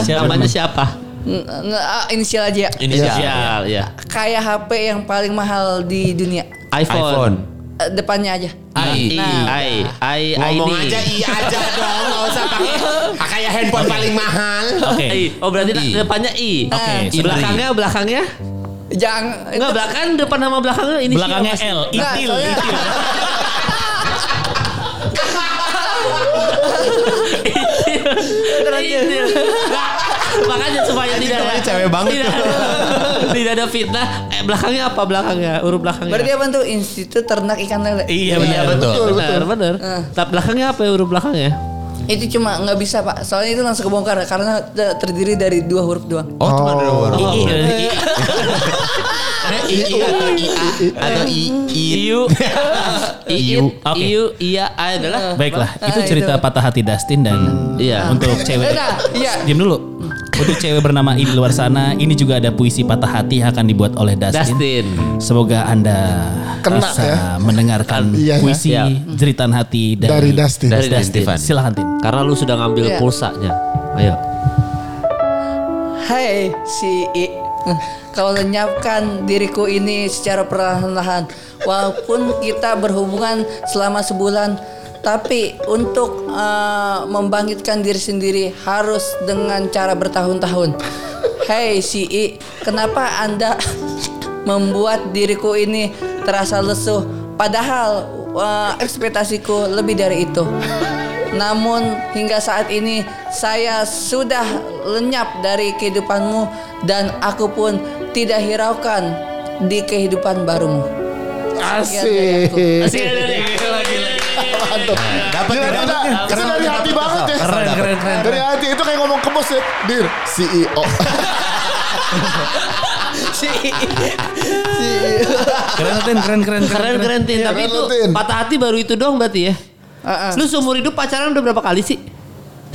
S2: Siapa namanya?
S3: Namanya siapa?
S4: N- n- ah, inisial aja.
S3: Iya.
S5: Ini
S3: Inisial, ya.
S4: Kayak HP yang paling mahal di dunia.
S5: iPhone.
S3: iPhone.
S4: Eh, depannya aja.
S3: I,
S4: Nah.
S3: I, I, I,
S5: Ngomong
S3: ID.
S5: aja iya aja dong, enggak usah pakai pakai handphone paling mahal.
S2: Oke.
S3: I. Oh berarti
S5: I.
S3: depannya I.
S4: Oke.
S3: I. Belakangnya, belakangnya?
S4: Jangan.
S3: Enggak, belakang depan sama belakangnya ini.
S2: Belakangnya L,
S4: Enggak,
S2: Itil,
S4: soalnya-
S2: Itil.
S3: Itil. Nah, Makanya supaya tidak ada
S5: namanya cewek banget
S3: Tidak,
S5: tuh. Iya,
S3: ada- tidak ada fitnah. Eh, belakangnya apa belakangnya? Huruf belakangnya.
S4: Berarti apa tuh? Institut Ternak Ikan Lele.
S2: Iya
S5: Iya
S2: benar.
S5: betul.
S3: betul, benar, benar.
S4: Eh.
S3: Tapi belakangnya apa ya, huruf belakangnya?
S4: Itu cuma nggak bisa pak, soalnya itu langsung kebongkar karena te- terdiri dari dua huruf doang.
S5: Oh, cuma ada dua
S3: Iya,
S2: I, I, I,
S5: I I atau I A atau I I
S3: Iu. Iu.
S2: Oke.
S3: Iu. Iya. Ah, adalah.
S2: Baiklah, itu
S4: Ah,
S2: cerita
S4: itu.
S2: patah hati Dustin dan
S3: Iya.
S2: untuk cewek.
S4: Nah, iya.
S2: Diam dulu. Untuk cewek bernama I di luar sana, ini juga ada puisi patah hati yang akan dibuat oleh Dustin.
S3: Dustin.
S2: Semoga Anda
S1: Kena,
S2: bisa
S1: ya.
S2: mendengarkan
S1: Iya, ya.
S2: puisi
S3: Iya.
S2: jeritan hati dari,
S1: Dari Dustin.
S2: Dari
S5: Dustin
S2: Dustin.
S5: Stefan.
S2: Silahkan Tin.
S3: Karena lu sudah ngambil
S4: Iya.
S3: pulsanya. Ayo.
S4: Hai si I, kau lenyapkan diriku ini secara perlahan-lahan. Walaupun kita berhubungan selama sebulan, tapi untuk eh, membangkitkan diri sendiri harus dengan cara bertahun-tahun. Hai si I, kenapa anda membuat diriku ini terasa lesu? Padahal eh, ekspektasiku lebih dari itu. Namun hingga saat ini saya sudah lenyap dari kehidupanmu dan aku pun tidak hiraukan di kehidupan barumu.
S1: Asik.
S3: Asik,
S1: Mantap.
S5: Dapat
S1: Gila, gila. Itu dari hati banget ya.
S5: Keren keren keren.
S1: Dari hati itu kayak ngomong ke bos ya. Dir, CEO.
S2: Keren Tin, keren keren
S3: Keren keren Tin.
S1: Iya,
S3: Tapi
S1: keren,
S3: itu
S1: lu, Tin.
S3: patah hati baru itu doang berarti ya.
S4: Uh-uh.
S3: Lu seumur hidup pacaran udah berapa kali sih?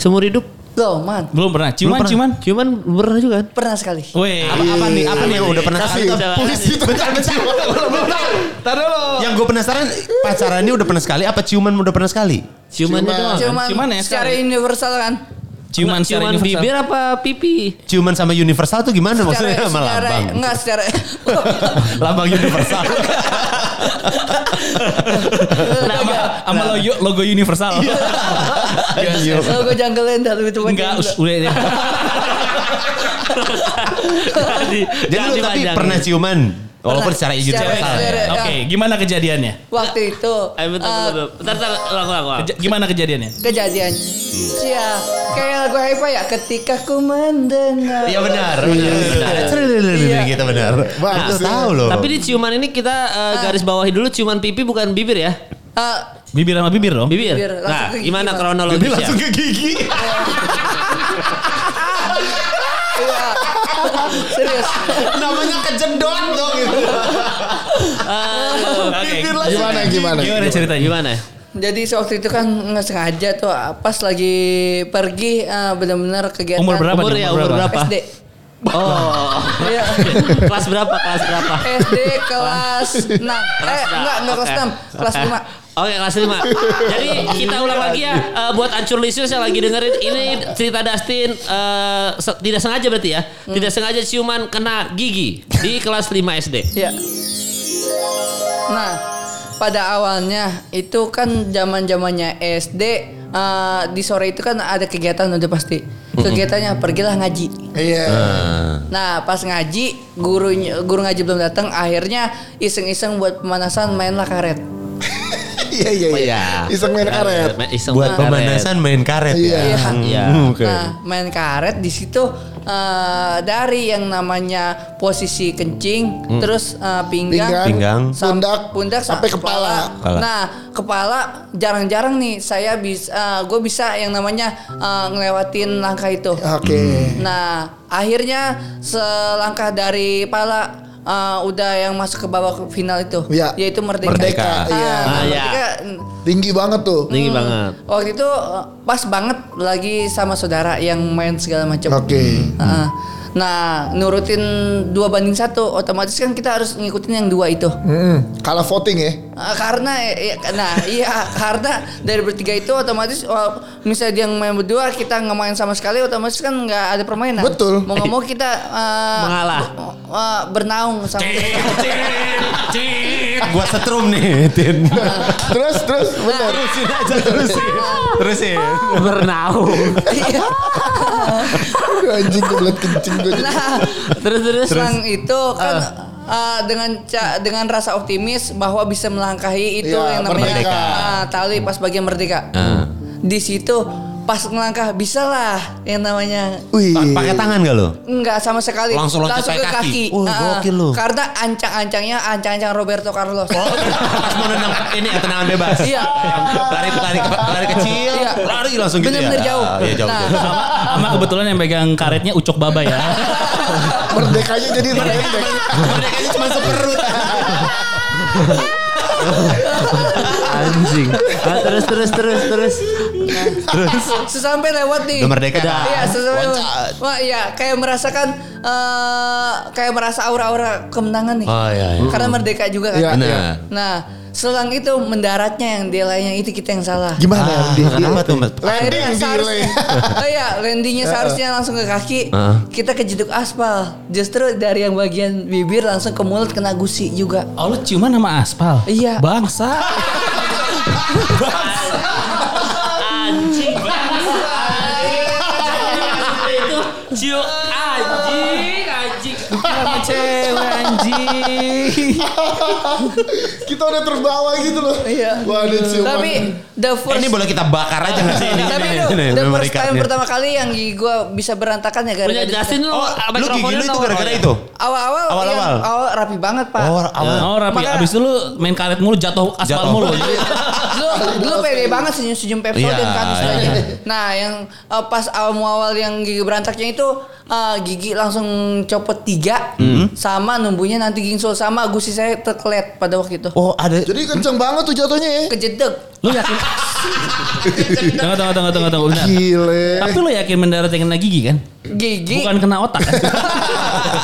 S3: Seumur hidup?
S4: Loh man,
S2: Belum pernah. Ciuman, ciuman.
S3: Cuman pernah juga kan?
S4: pernah sekali.
S2: Weh.
S3: Apa, apa nih? Apa
S1: Iya,
S3: nih?
S5: Udah pernah
S3: Kasih.
S5: sekali
S3: Udah,
S1: Puisi itu kan.
S3: Tar dulu.
S5: Yang gue penasaran pacarannya udah pernah sekali apa ciuman udah pernah sekali?
S3: Ciumannya
S1: Ciuman.
S3: doang.
S4: Cuman,
S2: Cuman ya
S4: secara
S2: sekali.
S4: universal kan.
S2: Ciuman secara
S3: Ciuman
S2: universal.
S3: bibir apa pipi?
S5: Ciuman sama universal tuh gimana
S4: Secara,
S5: maksudnya sama
S4: secara
S5: lambang?
S4: enggak secara
S5: Lambang universal.
S2: Sama, sama logo, logo universal.
S3: Iya,
S4: iya. Oh, logo jungle land lebih tepatnya.
S2: Enggak, us- udah deh. Jadi,
S5: Jadi lu tapi pernah
S3: Iya,
S5: ciuman walaupun secara
S4: Secara
S5: universal.
S4: secara-
S5: ya?
S2: Oke, gimana kejadiannya?
S4: Waktu itu
S3: Eh bentar,
S4: eh,
S3: bentar, bentar. Bentar, bentar, ulang, ulang, ulang.
S2: Keja- gimana kejadiannya?
S4: kejadian. Ya, kayak lagu apa ya? Ketika ku mendengar.
S5: Iya benar. benar. Gitu benar. Bagus
S1: Nah,
S5: tahu loh.
S3: Tapi di ciuman ini kita eh,
S4: Ah.
S3: garis bawahi dulu ciuman pipi bukan bibir ya.
S4: Eh,
S2: Bibir sama bibir dong.
S3: Bibir.
S4: Bibir, langsung
S3: Nah,
S4: ke gigi,
S3: gimana
S4: Bang.
S5: Dia
S3: kronologisnya?
S5: langsung ke gigi.
S4: iya. Serius.
S5: Namanya kejedot dong gitu.
S3: Aduh.
S2: Oke.
S5: Bibir langsung
S1: Gimana
S5: ke gigi.
S1: gimana?
S2: Gimana ceritanya?
S3: Ah. Gimana?
S1: Iya.
S3: ya?
S4: Jadi waktu itu kan nggak sengaja tuh ah, pas lagi pergi eh, benar-benar kegiatan
S2: Umur berapa?
S3: Umur
S2: nih?
S3: ya, umur berapa?
S4: SD.
S3: Oh.
S4: Iya.
S3: kelas berapa? Kelas berapa?
S4: SD kelas 6. Eh, enggak, enggak kelas 6, kelas 5.
S3: Eh, Oke kelas 5 Jadi kita ulang lagi ya Eh, Buat ancur listeners yang lagi dengerin Ini cerita Dustin eh, se- Tidak sengaja berarti ya
S4: Hmm.
S3: Tidak sengaja ciuman kena gigi Di kelas 5 SD
S4: Ya. Nah, pada awalnya itu kan zaman zamannya SD eh, di sore itu kan ada kegiatan udah pasti. Kegiatannya pergilah ngaji.
S1: Iya.
S4: Nah, pas ngaji gurunya guru ngaji belum datang, akhirnya iseng-iseng buat pemanasan mainlah karet.
S1: Iya iya iya. Iseng main karet.
S3: Nah, Iseng main
S5: Buat
S3: karet.
S5: pemanasan main karet
S1: Iya.
S5: ya.
S3: Iya.
S5: Hmm, Oke.
S4: Nah, main karet di situ eh, dari yang namanya posisi kencing,
S5: Hmm.
S4: terus eh,
S1: Pinggang,
S4: pinggang,
S5: Pinggang.
S4: sam-
S1: pundak,
S4: pundak
S1: sampai kepala.
S5: Kepala.
S4: Nah, kepala jarang-jarang nih saya bisa gue bisa yang namanya eh, ngelewatin langkah itu.
S1: Oke.
S5: Hmm.
S4: Nah, akhirnya selangkah dari pala eh, udah yang masuk ke babak final itu,
S1: Iya.
S4: yaitu merdeka.
S1: Merdeka,
S4: Ah,
S1: iya.
S4: nah,
S3: Ah, iya.
S4: merdeka
S1: Tinggi banget tuh.
S3: Tinggi banget
S4: Waktu itu eh, pas banget lagi sama saudara yang main segala macam.
S1: Oke.
S4: Heeh. Nah, nurutin dua banding satu, otomatis kan kita harus ngikutin yang dua itu.
S1: Mm-mm. Kalah voting ya.
S4: Eh, karena, eh, eh, nah, iya karena dari bertiga itu otomatis, wal- misalnya dia yang main berdua kita nggak main sama sekali, otomatis kan nggak ada permainan.
S1: Betul.
S4: Mau nggak mau kita eh,
S3: Mengalah.
S4: eh, bernaung sama.
S5: Gua setrum nih, Tin.
S1: Terus terus benar.
S5: Terusin aja terusin. Terusin.
S3: Bernaung
S4: Iya.
S1: Aduh, Anjing kebelet kencing gue.
S4: Nah,
S3: Terus terus
S4: Terus itu kan uh, dengan ca- dengan rasa optimis bahwa bisa melangkahi itu
S1: Iya,
S4: yang namanya
S1: merdeka.
S4: ah, tali pas bagian merdeka. Di situ pas ngelangkah bisa lah yang namanya
S1: Wih.
S5: Pakai tangan gak lo?
S4: Enggak sama sekali
S5: Langsung loncat
S4: ke
S5: pakai kaki.
S4: kaki.
S5: Wah,
S4: Ah,
S5: gokil lu.
S4: Karena ancang-ancangnya ancang-ancang Roberto Carlos.
S5: Oh. Pas mau nendang ini ya tendangan bebas.
S4: Iya.
S5: Lari lari lari kecil,
S4: Iya.
S5: lari langsung gitu
S4: Bener-bener
S5: ya.
S4: jauh.
S5: Ah, Iya jauh.
S4: Nah.
S5: jauh.
S2: Sama, sama kebetulan yang pegang karetnya Ucok Baba ya.
S1: Merdekanya jadi merdeka.
S5: Merdekanya cuma seperut.
S3: Anjing Ah, Terus terus terus terus
S5: Terus
S4: sesampai lewat nih.
S5: Udah merdeka, Kak.
S4: Iya, sesampai lewat.
S5: Loncat.
S4: Wah, iya, kayak merasakan eh, kayak merasa aura-aura kemenangan nih.
S5: Oh, iya, iya.
S4: Karena merdeka juga
S1: Iya.
S4: kan.
S5: Benar.
S4: Nah, selang itu mendaratnya yang delay-nya itu kita yang salah.
S1: Gimana?
S5: Ah,
S1: Di-
S5: kenapa
S1: di-
S5: tuh?
S1: Landing
S4: Akhirnya
S1: delay.
S4: seharusnya, oh iya, landingnya seharusnya langsung ke kaki.
S5: Heeh.
S4: Kita kejeduk aspal. Justru dari yang bagian bibir langsung ke mulut kena gusi juga.
S2: Oh lu ciuman sama aspal?
S4: Iya.
S2: Bangsa.
S3: Anjing Itu cium anjing anjing
S2: Sama cewek anjing.
S1: Kita udah terbawa gitu loh.
S4: Iya.
S1: Waduh ciuman.
S4: Tapi the
S5: Eh,
S4: first
S5: ini boleh kita bakar aja nggak sih ini?
S4: tapi
S5: ini,
S4: itu
S5: ini,
S4: the
S5: memang
S4: first
S5: record
S4: time
S5: nih.
S4: pertama kali yang gigi gue bisa berantakan ya
S3: Punya
S4: gara-gara di-
S3: Dustin lu
S5: Oh, lu gigi
S3: mikrofonnya
S5: lu itu
S3: nomor-
S5: gara-gara itu.
S4: awal-awal
S5: Awal-awal.
S4: yang awal rapi banget pak.
S5: Oh, awal.
S2: Oh rapi.
S4: Makanya-
S2: Abis itu lu main karet mulu jatuh aspal
S5: Jatuh.
S2: mulu.
S4: lu lu pede banget senyum-senyum Pepsodent
S5: Iya,
S4: kan
S5: iya.
S4: istilahnya. Nah, yang eh, pas awal-awal yang gigi berantaknya itu eh, gigi langsung copot tiga
S5: Hmm.
S4: sama numbuhnya nanti gingsul sama gusi saya terkelet pada waktu itu.
S5: Oh, ada
S1: Jadi kenceng banget tuh jatuhnya ya.
S4: Kejedek.
S2: Lu yakin? tunggu, tunggu, tunggu, tunggu, tunggu. Bentar.
S1: Gile.
S2: Tapi lu yakin mendarat yang kena gigi kan?
S4: Gigi.
S2: Bukan kena otak kan?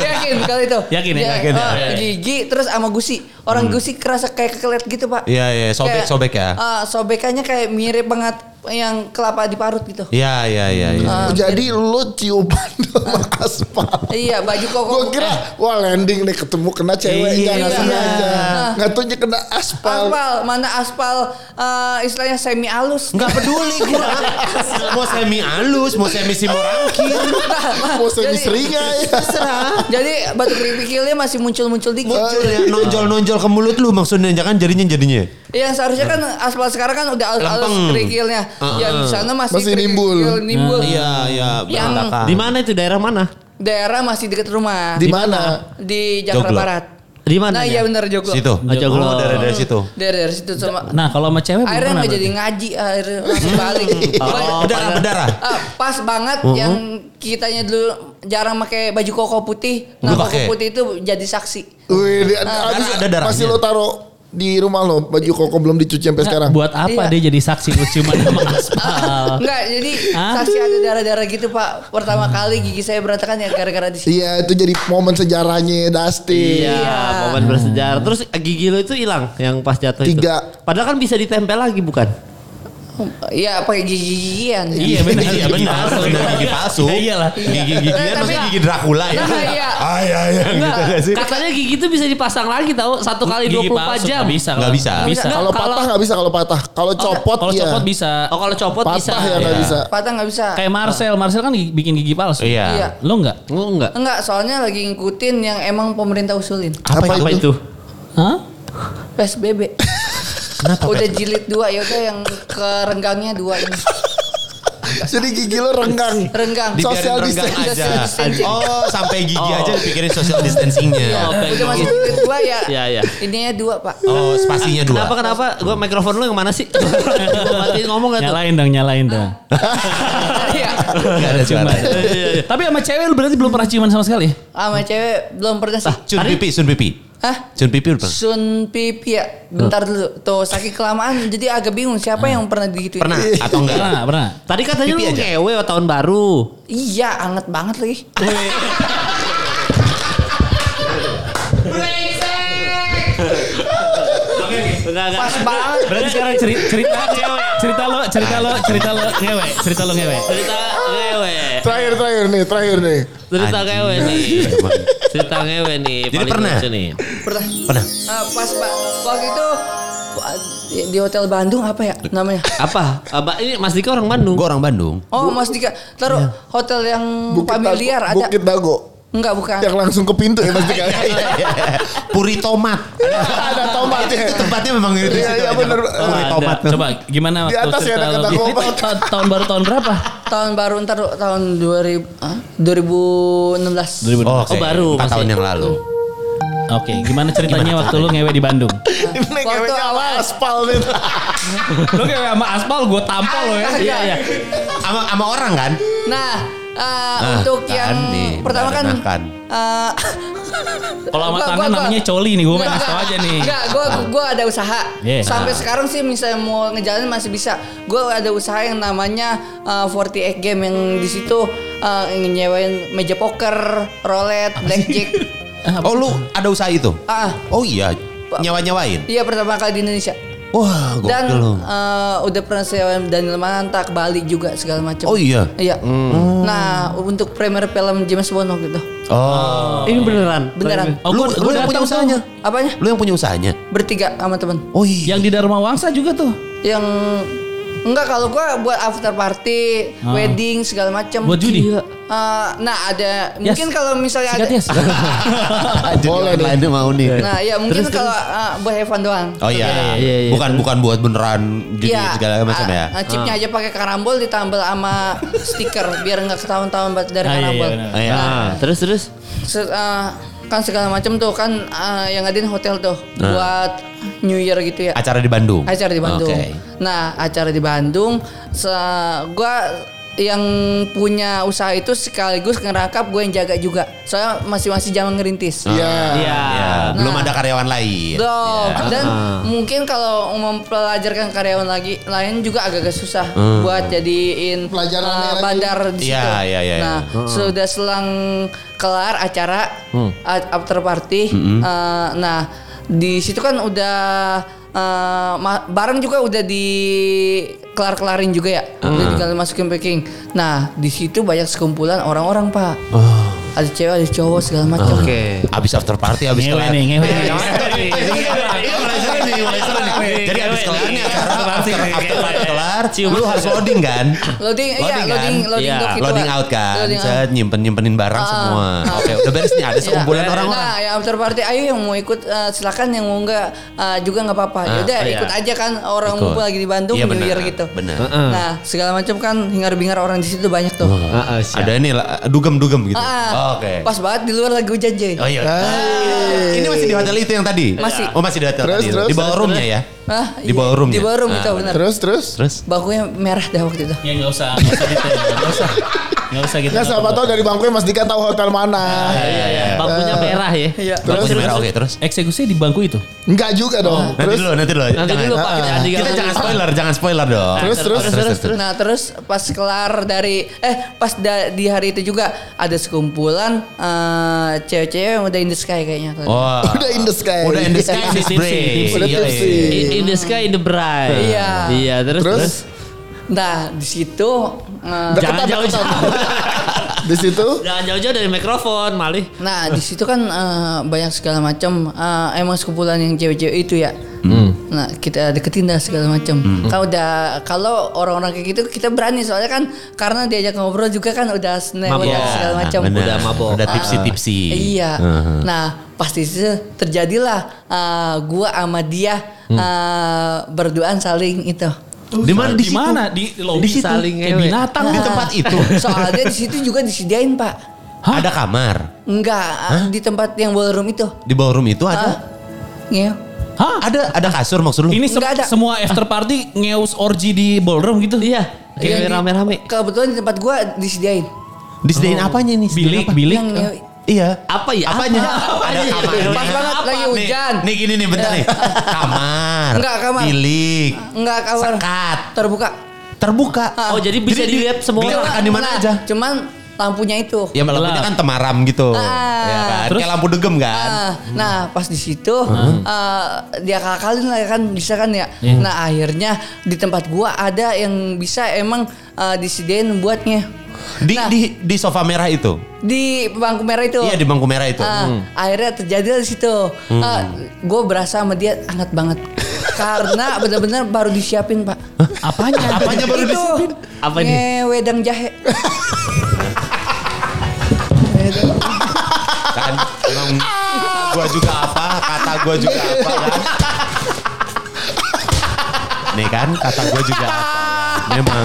S4: yakin kali itu.
S2: Yakin ya?
S4: Ya,
S2: Yakin ya?
S4: eh, Gigi terus sama gusi. Orang gusi kerasa kayak kekelet gitu, Pak.
S5: Iya, iya, sobek-
S4: Kayak,
S5: sobek ya.
S4: eh, sobekannya kayak mirip banget yang kelapa diparut gitu.
S5: Iya, iya, iya. Ya.
S1: Oh, jadi lu ciuman sama aspal.
S4: Iya, baju koko.
S1: Gue kira wah landing nih ketemu kena cewek
S5: Iya.
S1: nggak sengaja. Nggak taunya kena aspal.
S4: aspal, mana aspal eh, istilahnya semi halus.
S5: Nggak peduli gua. mau semi alus, mau semi simorangkir.
S1: Mau semi
S4: Jadi-
S1: seringai.
S5: Terserah.
S4: Jadi batu keripikilnya masih muncul-muncul dikit.
S5: Muncul ya, nonjol-nonjol ke mulut lu maksudnya jangan jadinya jadinya.
S4: Iya seharusnya kan aspal sekarang kan udah halus-halus
S5: Lempeng.
S4: kerikilnya. Ya di sana masih,
S1: Masih
S4: kerikil,
S1: nimbul.
S4: nimbul.
S5: Iya, iya,
S4: Yang-
S5: berantakan.
S3: Di mana itu daerah mana?
S4: Daerah masih dekat rumah.
S1: Di
S4: Di,
S1: mana?
S4: Jakarta
S5: Joglo.
S4: Barat.
S3: Di mana?
S4: Nah
S3: ya?
S4: iya benar Joglo.
S5: Situ.
S3: Aja gua.
S5: Oh, dari dari situ.
S4: Dari, dari situ sama
S2: Nah kalau sama cewek
S4: akhirnya
S2: belum pernah
S4: nggak jadi ngaji akhirnya
S2: Hmm.
S4: langsung balik.
S2: Oh,
S4: Balik.
S5: Berdarah, berdarah.
S4: Eh, pas banget
S5: Hmm.
S4: yang kitanya dulu jarang pakai baju koko putih. Nah,
S5: Lu
S4: koko
S5: pakai?
S4: putih itu jadi saksi.
S1: Wih, di- abis
S5: ada darahnya.
S1: Masih lo taruh di rumah lo baju koko belum dicuci sampai sekarang.
S2: Nah, Buat apa
S4: Iya.
S2: dia jadi saksi lu ciuman sama aspal?
S4: Enggak, jadi
S2: Ah. Hah?
S4: saksi ada darah-darah gitu Pak. Pertama kali gigi saya berantakan ya gara-gara di sini.
S1: Iya itu jadi momen sejarahnya Dustin.
S3: Iya, momen bersejarah. Terus eh, gigi lo itu hilang yang pas jatuh
S1: Tiga.
S3: itu. Padahal kan bisa ditempel lagi bukan?
S4: Iya, pakai gigi-gigian.
S2: Iya benar.
S5: Iya Nah, benar, benar gigi palsu.
S2: Ya iyalah.
S5: Gigi-gigian
S4: Tapi-
S5: maksudnya gigi Dracula ya.
S4: Nah, iya.
S5: Ay, ay, ay, gitu gak sih?
S3: Katanya gigi itu bisa dipasang lagi tahu satu kali
S2: Gigi
S3: 24
S2: palsu,
S3: jam.
S2: nggak bisa.
S5: Nggak
S2: kalau-
S5: bisa.
S2: nggak bisa.
S1: Kalau patah nggak bisa kalau patah. Kalau copot
S2: Kalau
S1: iya.
S2: copot bisa.
S3: Oh kalau copot
S1: patah
S3: bisa.
S1: ya nggak
S5: Iya.
S1: bisa.
S4: Patah nggak bisa.
S2: Kayak Marcel, Marcel kan gigi- bikin gigi palsu.
S5: Iya.
S4: Iya.
S2: Lo enggak?
S3: Oh, enggak.
S4: Enggak, soalnya lagi ngikutin yang emang pemerintah usulin.
S1: Apa,
S3: Apa itu?
S2: Hah?
S4: PSBB. Kenapa? Udah jilid dua ya udah yang ke renggangnya dua ini.
S1: Jadi gigi lo renggang.
S4: Renggang.
S1: Dibiarin Social
S5: renggang
S1: distancing.
S5: aja.
S4: Distancing.
S5: Oh, Iya. sampai gigi
S3: Oh.
S5: aja dipikirin social distancing-nya.
S3: Oke.
S4: Udah masuk jilid dua ya.
S3: Iya, iya.
S4: Ininya dua, Pak.
S5: Oh, spasinya dua.
S3: Kenapa kenapa? Gua mikrofon lu yang mana sih? Gua matiin ngomong gak tuh?
S2: Nyalain dong, nyalain dong.
S4: Iya.
S5: Gak ada suara.
S3: Iya,
S2: Tapi sama cewek lu berarti belum pernah ciuman sama sekali?
S4: Sama cewek belum pernah sih.
S5: Cun pipi, cun pipi.
S4: Hah?
S5: Cun pipi udah pernah?
S4: Sun pipi ya. Bentar dulu. Tuh sakit kelamaan jadi agak bingung siapa yang pernah digituin.
S5: Pernah atau enggak?
S2: Pernah, pernah.
S3: Tadi katanya
S5: Pipi
S3: lu
S5: aja.
S3: ngewe tahun baru.
S4: Iya, anget banget lagi.
S3: Enggak enggak.
S4: Pas banget.
S2: Berarti sekarang cerita cerita cerita lo cerita lo cerita lo ngewe, cerita lo ngewe.
S3: Cerita ngewe.
S1: Terakhir terakhir nih terakhir nih.
S3: Cerita
S5: Anjing.
S3: ngewe nih.
S5: Emang.
S3: Cerita ngewe nih.
S5: Jadi
S3: paling
S5: pernah?
S3: lucu nih.
S4: Pernah.
S5: Pernah.
S4: Ah, pas pak waktu itu wa- di, di hotel Bandung apa ya namanya?
S3: Apa? Apa ini Mas Dika orang Bandung?
S5: Gue orang Bandung.
S4: Oh Mas Dika, taruh hotel yang familiar
S1: Dago,
S4: ada?
S1: Bukit Dago.
S4: Enggak bukan.
S1: Yang langsung ke pintu ya pasti kan.
S5: iya, Puri tomat.
S1: Ada tomatnya.
S5: Itu tempatnya memang itu.
S1: Iya, iya, bener.
S5: Puri
S2: Ada.
S5: Oh, tomat.
S2: Coba gimana
S1: Di
S2: waktu
S1: atas ya
S2: cerita
S1: ada
S2: lo?
S1: kata
S2: Ini
S1: komat.
S2: tahun- tahun- tahun baru tahun berapa?
S4: Tahun baru ntar tahun 2000 ah, 2016.
S5: Oh,
S3: Oh, baru,
S5: baru. 4 tahun
S3: masih.
S5: yang lalu.
S2: Oke, gimana ceritanya waktu lu ngewe di Bandung?
S1: Ini
S4: Waktu
S1: kayaknya
S4: awal.
S1: aspal nih.
S2: lu ngewe sama aspal gue tampol lo ya.
S4: Iya, iya.
S5: Sama sama orang kan?
S4: Nah, ah,
S5: Nah,
S4: untuk
S5: kan
S4: yang
S5: nih,
S4: pertama kan
S5: merenakan.
S4: ah,
S2: Kalau sama
S4: gua-
S2: tangan
S4: gua- gua-
S2: namanya coli nih, gue main
S4: Enggak,
S2: asal aja nih. Nah.
S4: Enggak, gue gua ada usaha.
S2: Iya.
S4: Sampai sekarang sih misalnya mau ngejalanin masih bisa. Gue ada usaha yang namanya uh, 48 game yang di situ uh, nyewain meja poker, roulette, blackjack.
S5: Oh, lu ada usaha itu?
S4: Ah,
S5: Oh iya, nyawa-nyawain.
S4: iya pertama kali di Indonesia.
S5: Wah, gokil
S4: Dan
S5: lu.
S4: uh, udah pernah sewa Daniel Mananta ke Bali juga segala macam.
S5: Oh iya.
S4: Iya. Nah, untuk premier film James Bond gitu.
S5: Oh.
S3: Ini beneran.
S4: Beneran.
S2: Oh,
S5: Lu-
S2: gua-
S5: lu
S2: gua
S5: yang punya
S2: datang tuh.
S5: usahanya?
S4: Apanya?
S5: Lu yang punya usahanya?
S4: Bertiga sama temen.
S5: Oh iya.
S2: Yang di Dharma Wangsa juga tuh.
S4: Yang enggak kalau gua buat after party, wedding segala macam.
S2: Buat judi?
S4: Gila. Eh, nah ada mungkin kalau
S5: Iya,
S4: misalnya
S2: Sikat ya?
S4: ada
S2: yes.
S1: Boleh nih.
S5: Lainnya mau nih.
S4: Nah, ya mungkin kalau eh, buat have fun doang.
S5: Oh iya.
S3: iya, iya.
S5: Bukan bukan buat beneran judi
S4: Iya,
S5: segala macam
S4: eh,
S5: ya.
S4: eh, chipnya aja pakai karambol ditambal sama stiker biar nggak ketahuan-tahuan buat dari
S2: Ah, iya,
S4: karambol.
S2: iya, benar.
S5: Ah, iya.
S3: Nah, terus terus.
S4: Se- eh, kan segala macam tuh kan eh, yang ngadain hotel tuh buat New Year gitu ya.
S5: Nah. Acara di Bandung.
S4: acara di Bandung.
S5: Oke.
S4: Nah, acara di Bandung, se- gua yang punya usaha itu sekaligus ngerangkap gue yang jaga juga. Soalnya masih-masih zaman ngerintis.
S1: Iya.
S3: Iya.
S2: Ah.
S5: Ya, belum ada karyawan lain.
S4: Belum.
S5: Iya.
S4: Dan mungkin kalau mempelajarkan karyawan lagi lain juga agak-agak susah buat jadiin
S1: Pelajaran
S4: eh,
S1: lagi.
S4: bandar di
S5: Hmm. Iya,
S4: situ.
S5: iya, iya,
S4: Nah, sudah
S5: Hmm.
S4: selang kelar acara a- after party. eh, nah, di situ kan udah eh, ma- barang juga udah di kelar-kelarin juga ya.
S5: Hmm.
S4: Udah tinggal masukin packing. Nah, di situ banyak sekumpulan orang-orang, Pak.
S5: Oh.
S4: Ada cewek, ada cowok segala macam.
S5: Abis after party, abis
S2: Ngewe
S5: kelar. Iya,
S2: nih, ngewe.
S3: Iya,
S5: Jadi abis kelar nih acara, after, after party kelar, lu harus loading kan?
S4: Loading, iya,
S5: kan?
S4: loading, loading,
S3: Iya,
S4: dock gitu,
S5: Loading
S4: Pak.
S5: out kan,
S4: Loading out.
S5: set nyimpen nyimpenin barang semua. Oke, udah beres nih ada sekumpulan
S4: Iya.
S5: orang-orang.
S4: Nah, ya after party ayo yang mau ikut eh, silakan yang mau enggak eh, juga nggak apa-apa. Ya udah
S3: iya.
S4: ikut aja kan orang
S5: Ah, Ikut.
S4: mumpung lagi di Bandung
S5: Iya,
S4: New
S5: benar,
S4: Year gitu.
S5: benar.
S4: Nah, segala macam kan hingar-bingar orang di situ banyak tuh.
S6: Ah, ah, siap.
S5: Ada nih lah, dugem-dugem gitu.
S4: Ah,
S5: Oke.
S4: Pas banget di luar lagi hujan, Jay.
S5: Oh iya. Ah, Ini masih di hotel itu yang tadi?
S4: Masih.
S5: Oh masih di hotel
S1: Terus,
S5: tadi.
S1: terus,
S5: di bawah
S1: terus,
S5: roomnya ya?
S4: Hah?
S5: Di
S4: Iya,
S5: bawah roomnya?
S4: Di bawah room
S5: Ah,
S4: itu benar.
S1: Terus terus.
S5: Terus?
S4: Bakunya merah dah waktu itu.
S2: Ya nggak usah, nggak usah gitu, nggak usah, nggak usah gitu.
S1: Nggak siapa tahu dari bangkunya Mas Dika tahu hotel mana.
S3: Iya, iya. Bangkunya merah ya.
S4: Iya.
S5: Terus? merah, oke terus.
S2: Eksekusinya di bangku itu.
S1: Enggak juga dong.
S5: Nanti
S1: Terus
S5: dulu, nanti dulu.
S3: Nanti
S5: Jangan.
S3: dulu Pak kita nanti
S5: Kita jangan spoiler, jangan spoiler dong.
S1: Terus, terus,
S5: terus, terus.
S4: Nah terus pas kelar dari eh pas da- di hari itu juga ada sekumpulan eh, cewek-cewek yang udah in the sky kayaknya.
S5: Oh.
S1: udah in the sky.
S5: Udah in the sky
S2: Tipsy,
S5: this
S2: tipsy,
S5: break.
S2: tipsy.
S1: Udah
S5: Iya,
S1: tipsy.
S5: iya.
S3: In, in the sky in the bright.
S4: Iya.
S3: Iya, terus
S1: Terus?
S3: terus.
S4: Nah di situ eh,
S3: Jangan jauh-jauh.
S1: Di situ
S3: Jangan jauh-jauh dari mikrofon, malih.
S4: Nah di situ kan eh, banyak segala macam eh, emang sekumpulan yang cewek-cewek itu ya. Nah kita deketin dah segala macam. Kalau udah kalau orang-orang kayak gitu kita berani soalnya kan karena diajak ngobrol juga kan udah snack
S3: Mabok.
S4: udah segala macam.
S5: Benar.
S3: Udah mabok.
S5: Iya. Udah tipsi-tipsi.
S4: Iya. Nah pasti situ terjadilah eh, gua sama dia eh, berduaan saling itu.
S5: Di mana? Di
S2: Oh, Di mana? Di lobby
S6: Di situ.
S2: saling kayak
S6: Ngewe.
S2: binatang.
S5: Di tempat itu.
S4: Ah. Soalnya di situ juga disediain pak.
S5: Ada kamar.
S4: Enggak eh, di tempat yang ballroom itu.
S5: Di bawah room itu
S4: Ah,
S5: ada.
S4: Ngeo.
S2: Hah?
S4: Ah.
S5: Ada ada kasur maksud lu?
S2: Ini se-
S4: Nggak ada.
S2: semua after party ngeus orgy di ballroom gitu? Iya.
S4: Yang
S3: Kayak
S4: di-
S3: rame-rame.
S4: Kebetulan di tempat gua disediain.
S5: Disediain
S2: Oh,
S5: apanya nih? Disediain
S2: Bilik,
S5: apa?
S2: bilik.
S4: Yang ngewe.
S5: Iya.
S3: Apa ya?
S5: Apanya?
S3: Apa?
S5: Ada
S3: Apanya?
S5: kamarnya.
S4: Pas banget
S3: Apa?
S4: lagi
S3: Nih,
S4: hujan.
S5: Nih gini nih bentar nih. Kamar.
S4: Enggak, kamar.
S5: Bilik.
S4: Enggak kamar.
S5: Sekat.
S4: Terbuka.
S5: Terbuka.
S4: Ah.
S3: Oh, jadi bisa
S5: di-
S3: dilihat semua
S5: Bilik
S3: orang.
S5: makan di mana
S4: Nah,
S5: aja?
S4: Cuman lampunya itu.
S5: Ya lampunya
S2: Gelap.
S5: kan temaram gitu.
S4: Ah.
S5: Ya kan?
S2: Terus?
S5: Kayak lampu degem kan.
S4: Ah, Nah, pas di situ eh, dia kakalin lah ya kan bisa kan ya. Nah, akhirnya di tempat gua ada yang bisa emang eh, disediain buatnya
S5: Di
S4: Nah.
S5: di di sofa merah itu.
S4: di bangku merah itu.
S5: Iya di bangku merah
S2: Gitu.
S5: itu.
S4: Ah,
S2: Hmm.
S4: Akhirnya terjadi di situ. gue berasa sama dia hangat banget. Karena benar-benar baru disiapin, Pak.
S2: Apanya?
S5: Apanya baru
S4: Itu.
S5: disiapin?
S3: Apa ini?
S4: Ngewedang jahe.
S5: kan emang gua juga apa kata gua juga apa kan nih kan kata gua juga apa
S4: Ah,
S5: memang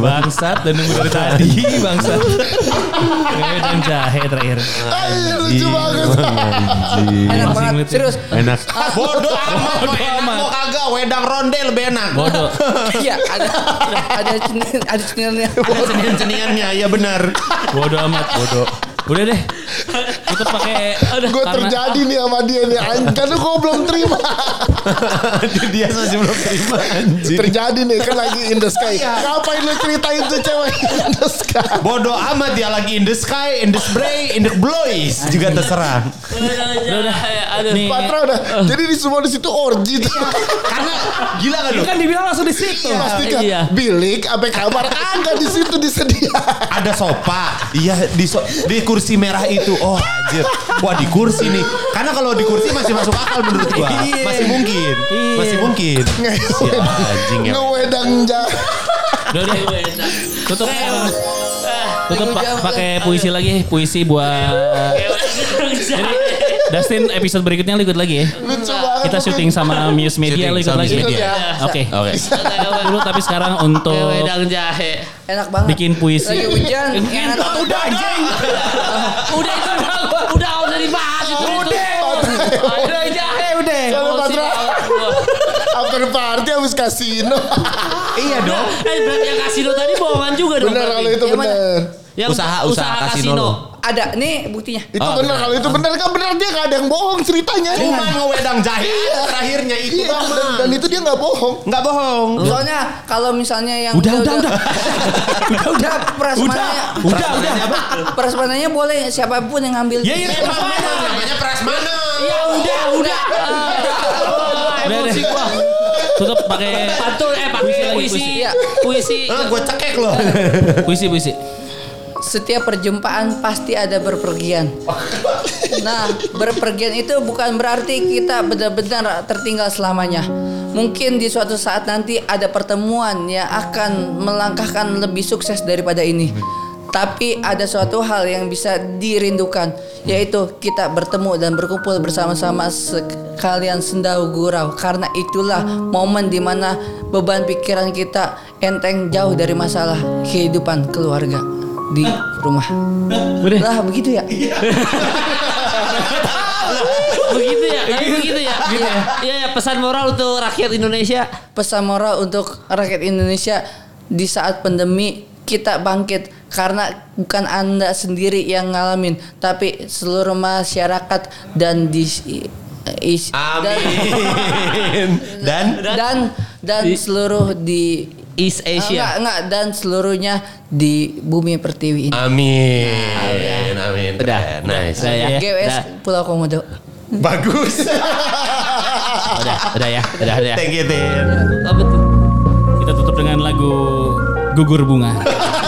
S2: Bangsat dan nunggu dari tadi bangsat. Ngewe dan jahe terakhir.
S1: Ay,
S5: Iya.
S1: lucu banget.
S4: Enak
S2: Masih
S4: banget,
S2: ngeliat ya.
S4: serius.
S5: enak Ah, bodoh amat
S2: Bodoh
S5: enak
S2: amat.
S5: mau kagak wedang ronde lebih enak
S2: Bodoh.
S4: Iya, ada ada cenil, ada cenilnya.
S5: ada cenian-ceniannya ya benar
S2: Bodoh amat. Bodoh. Udah deh. Kita pakai udah
S1: Gue terjadi nih sama dia nih. An- Kan gue belum terima.
S5: dia masih belum terima anjing
S1: terjadi nih kan lagi in the sky. Ngapain lu ceritain tuh cewek in the sky?
S5: bodoh amat dia lagi in the sky in the spray in the blois juga terserah
S3: Udah, udah. Aduh.
S2: Nih.
S1: Patra udah. Jadi di semua di situ orgi tuh.
S5: karena gila kan lu
S2: Kan dibilang langsung di situ.
S1: Pasti kan
S3: Iya.
S1: bilik sampai kamar ada di situ disediakan.
S5: ada sofa. Iya di so- di kursi merah itu. Oh anjir. Wah di kursi nih. Karena kalau di kursi masih masuk akal menurut gua. Masih mungkin. Masih mungkin. Si anjing ya.
S1: Ngewedang jahe.
S2: Udah deh. Tutup.
S5: Eh,
S2: Tutup pa-
S4: Aduh,
S2: pakai puisi lagi, puisi buat Dustin episode berikutnya lu ikut lagi ya.
S1: Lucu banget. Iya.
S2: Kita syuting sama Muse Media
S5: Syuting
S2: lu ikut
S5: sama
S2: lagi.
S5: Muse Media.
S2: Oke.
S5: Oke.
S2: Dulu tapi sekarang untuk
S3: Wedang jahe.
S4: Enak banget.
S2: bikin
S4: lagi
S2: puisi.
S4: hujan. enak.
S2: Udah anjing.
S3: Udah itu udah udah udah dibahas itu. Udah. Udah jahe udah.
S5: Eh, oh,
S1: Kalau Patra. After party habis kasino.
S5: Iya dong. Iya,
S3: Eh berarti yang kasino tadi bohongan juga dong.
S1: Bener
S3: berarti.
S1: kalau itu
S4: Yang mana?
S1: bener.
S3: Yang
S5: Usaha- usaha kasino lo.
S4: Ada nih buktinya.
S1: Itu
S5: Ah,
S1: bener kalau itu bener kan bener dia gak ada yang bohong ceritanya.
S5: Cuma ngewedang jahe terakhirnya itu
S1: Iya,
S5: Bang.
S1: dan, dan itu dia nggak bohong.
S5: Nggak bohong.
S4: Soalnya kalau misalnya yang
S2: Udah, udah, udah.
S4: udah, udah, prasmananya,
S2: Udah, udah. Ya,
S4: prasmananya boleh siapapun yang ngambil.
S5: Iya memang memang namanya prasmanan.
S3: Ya udah, udah. Ah,
S2: Udah deh.
S3: Emosi gua.
S2: Tutup pakai
S3: Pantun eh
S2: Puisi
S3: pakai
S2: lagi,
S3: puisi.
S4: puisi.
S3: Puisi.
S5: Eh, gue cekek loh.
S2: puisi puisi.
S4: Setiap perjumpaan pasti ada berpergian. Nah, berpergian itu bukan berarti kita benar-benar tertinggal selamanya. Mungkin di suatu saat nanti ada pertemuan yang akan melangkahkan lebih sukses daripada ini. Tapi ada suatu hal yang bisa dirindukan, yaitu kita bertemu dan berkumpul bersama-sama sekalian sendau gurau. Karena itulah momen dimana beban pikiran kita enteng jauh dari masalah kehidupan keluarga di rumah. Lah begitu ya?
S3: Begitu ya, tapi begitu ya. Iya, ya, pesan moral untuk rakyat Indonesia.
S4: pesan moral untuk rakyat Indonesia di saat pandemi kita bangkit karena bukan anda sendiri yang ngalamin tapi seluruh masyarakat dan di is- dan
S5: Amin. Dan
S4: dan dan seluruh di
S3: East
S4: enggak,
S3: Asia.
S4: enggak, dan seluruhnya di bumi pertiwi ini
S5: Amin. Amin.
S3: Udah.
S5: Keren. Nice.
S3: Udah ya.
S4: GWS
S3: Udah,
S4: Pulau Komodo
S5: Bagus.
S3: udah, udah ya. Udah, udah. ya.
S5: Thank you, Tin.
S3: Oh, betul.
S2: Kita tutup dengan lagu Gugur Bunga.
S3: ya.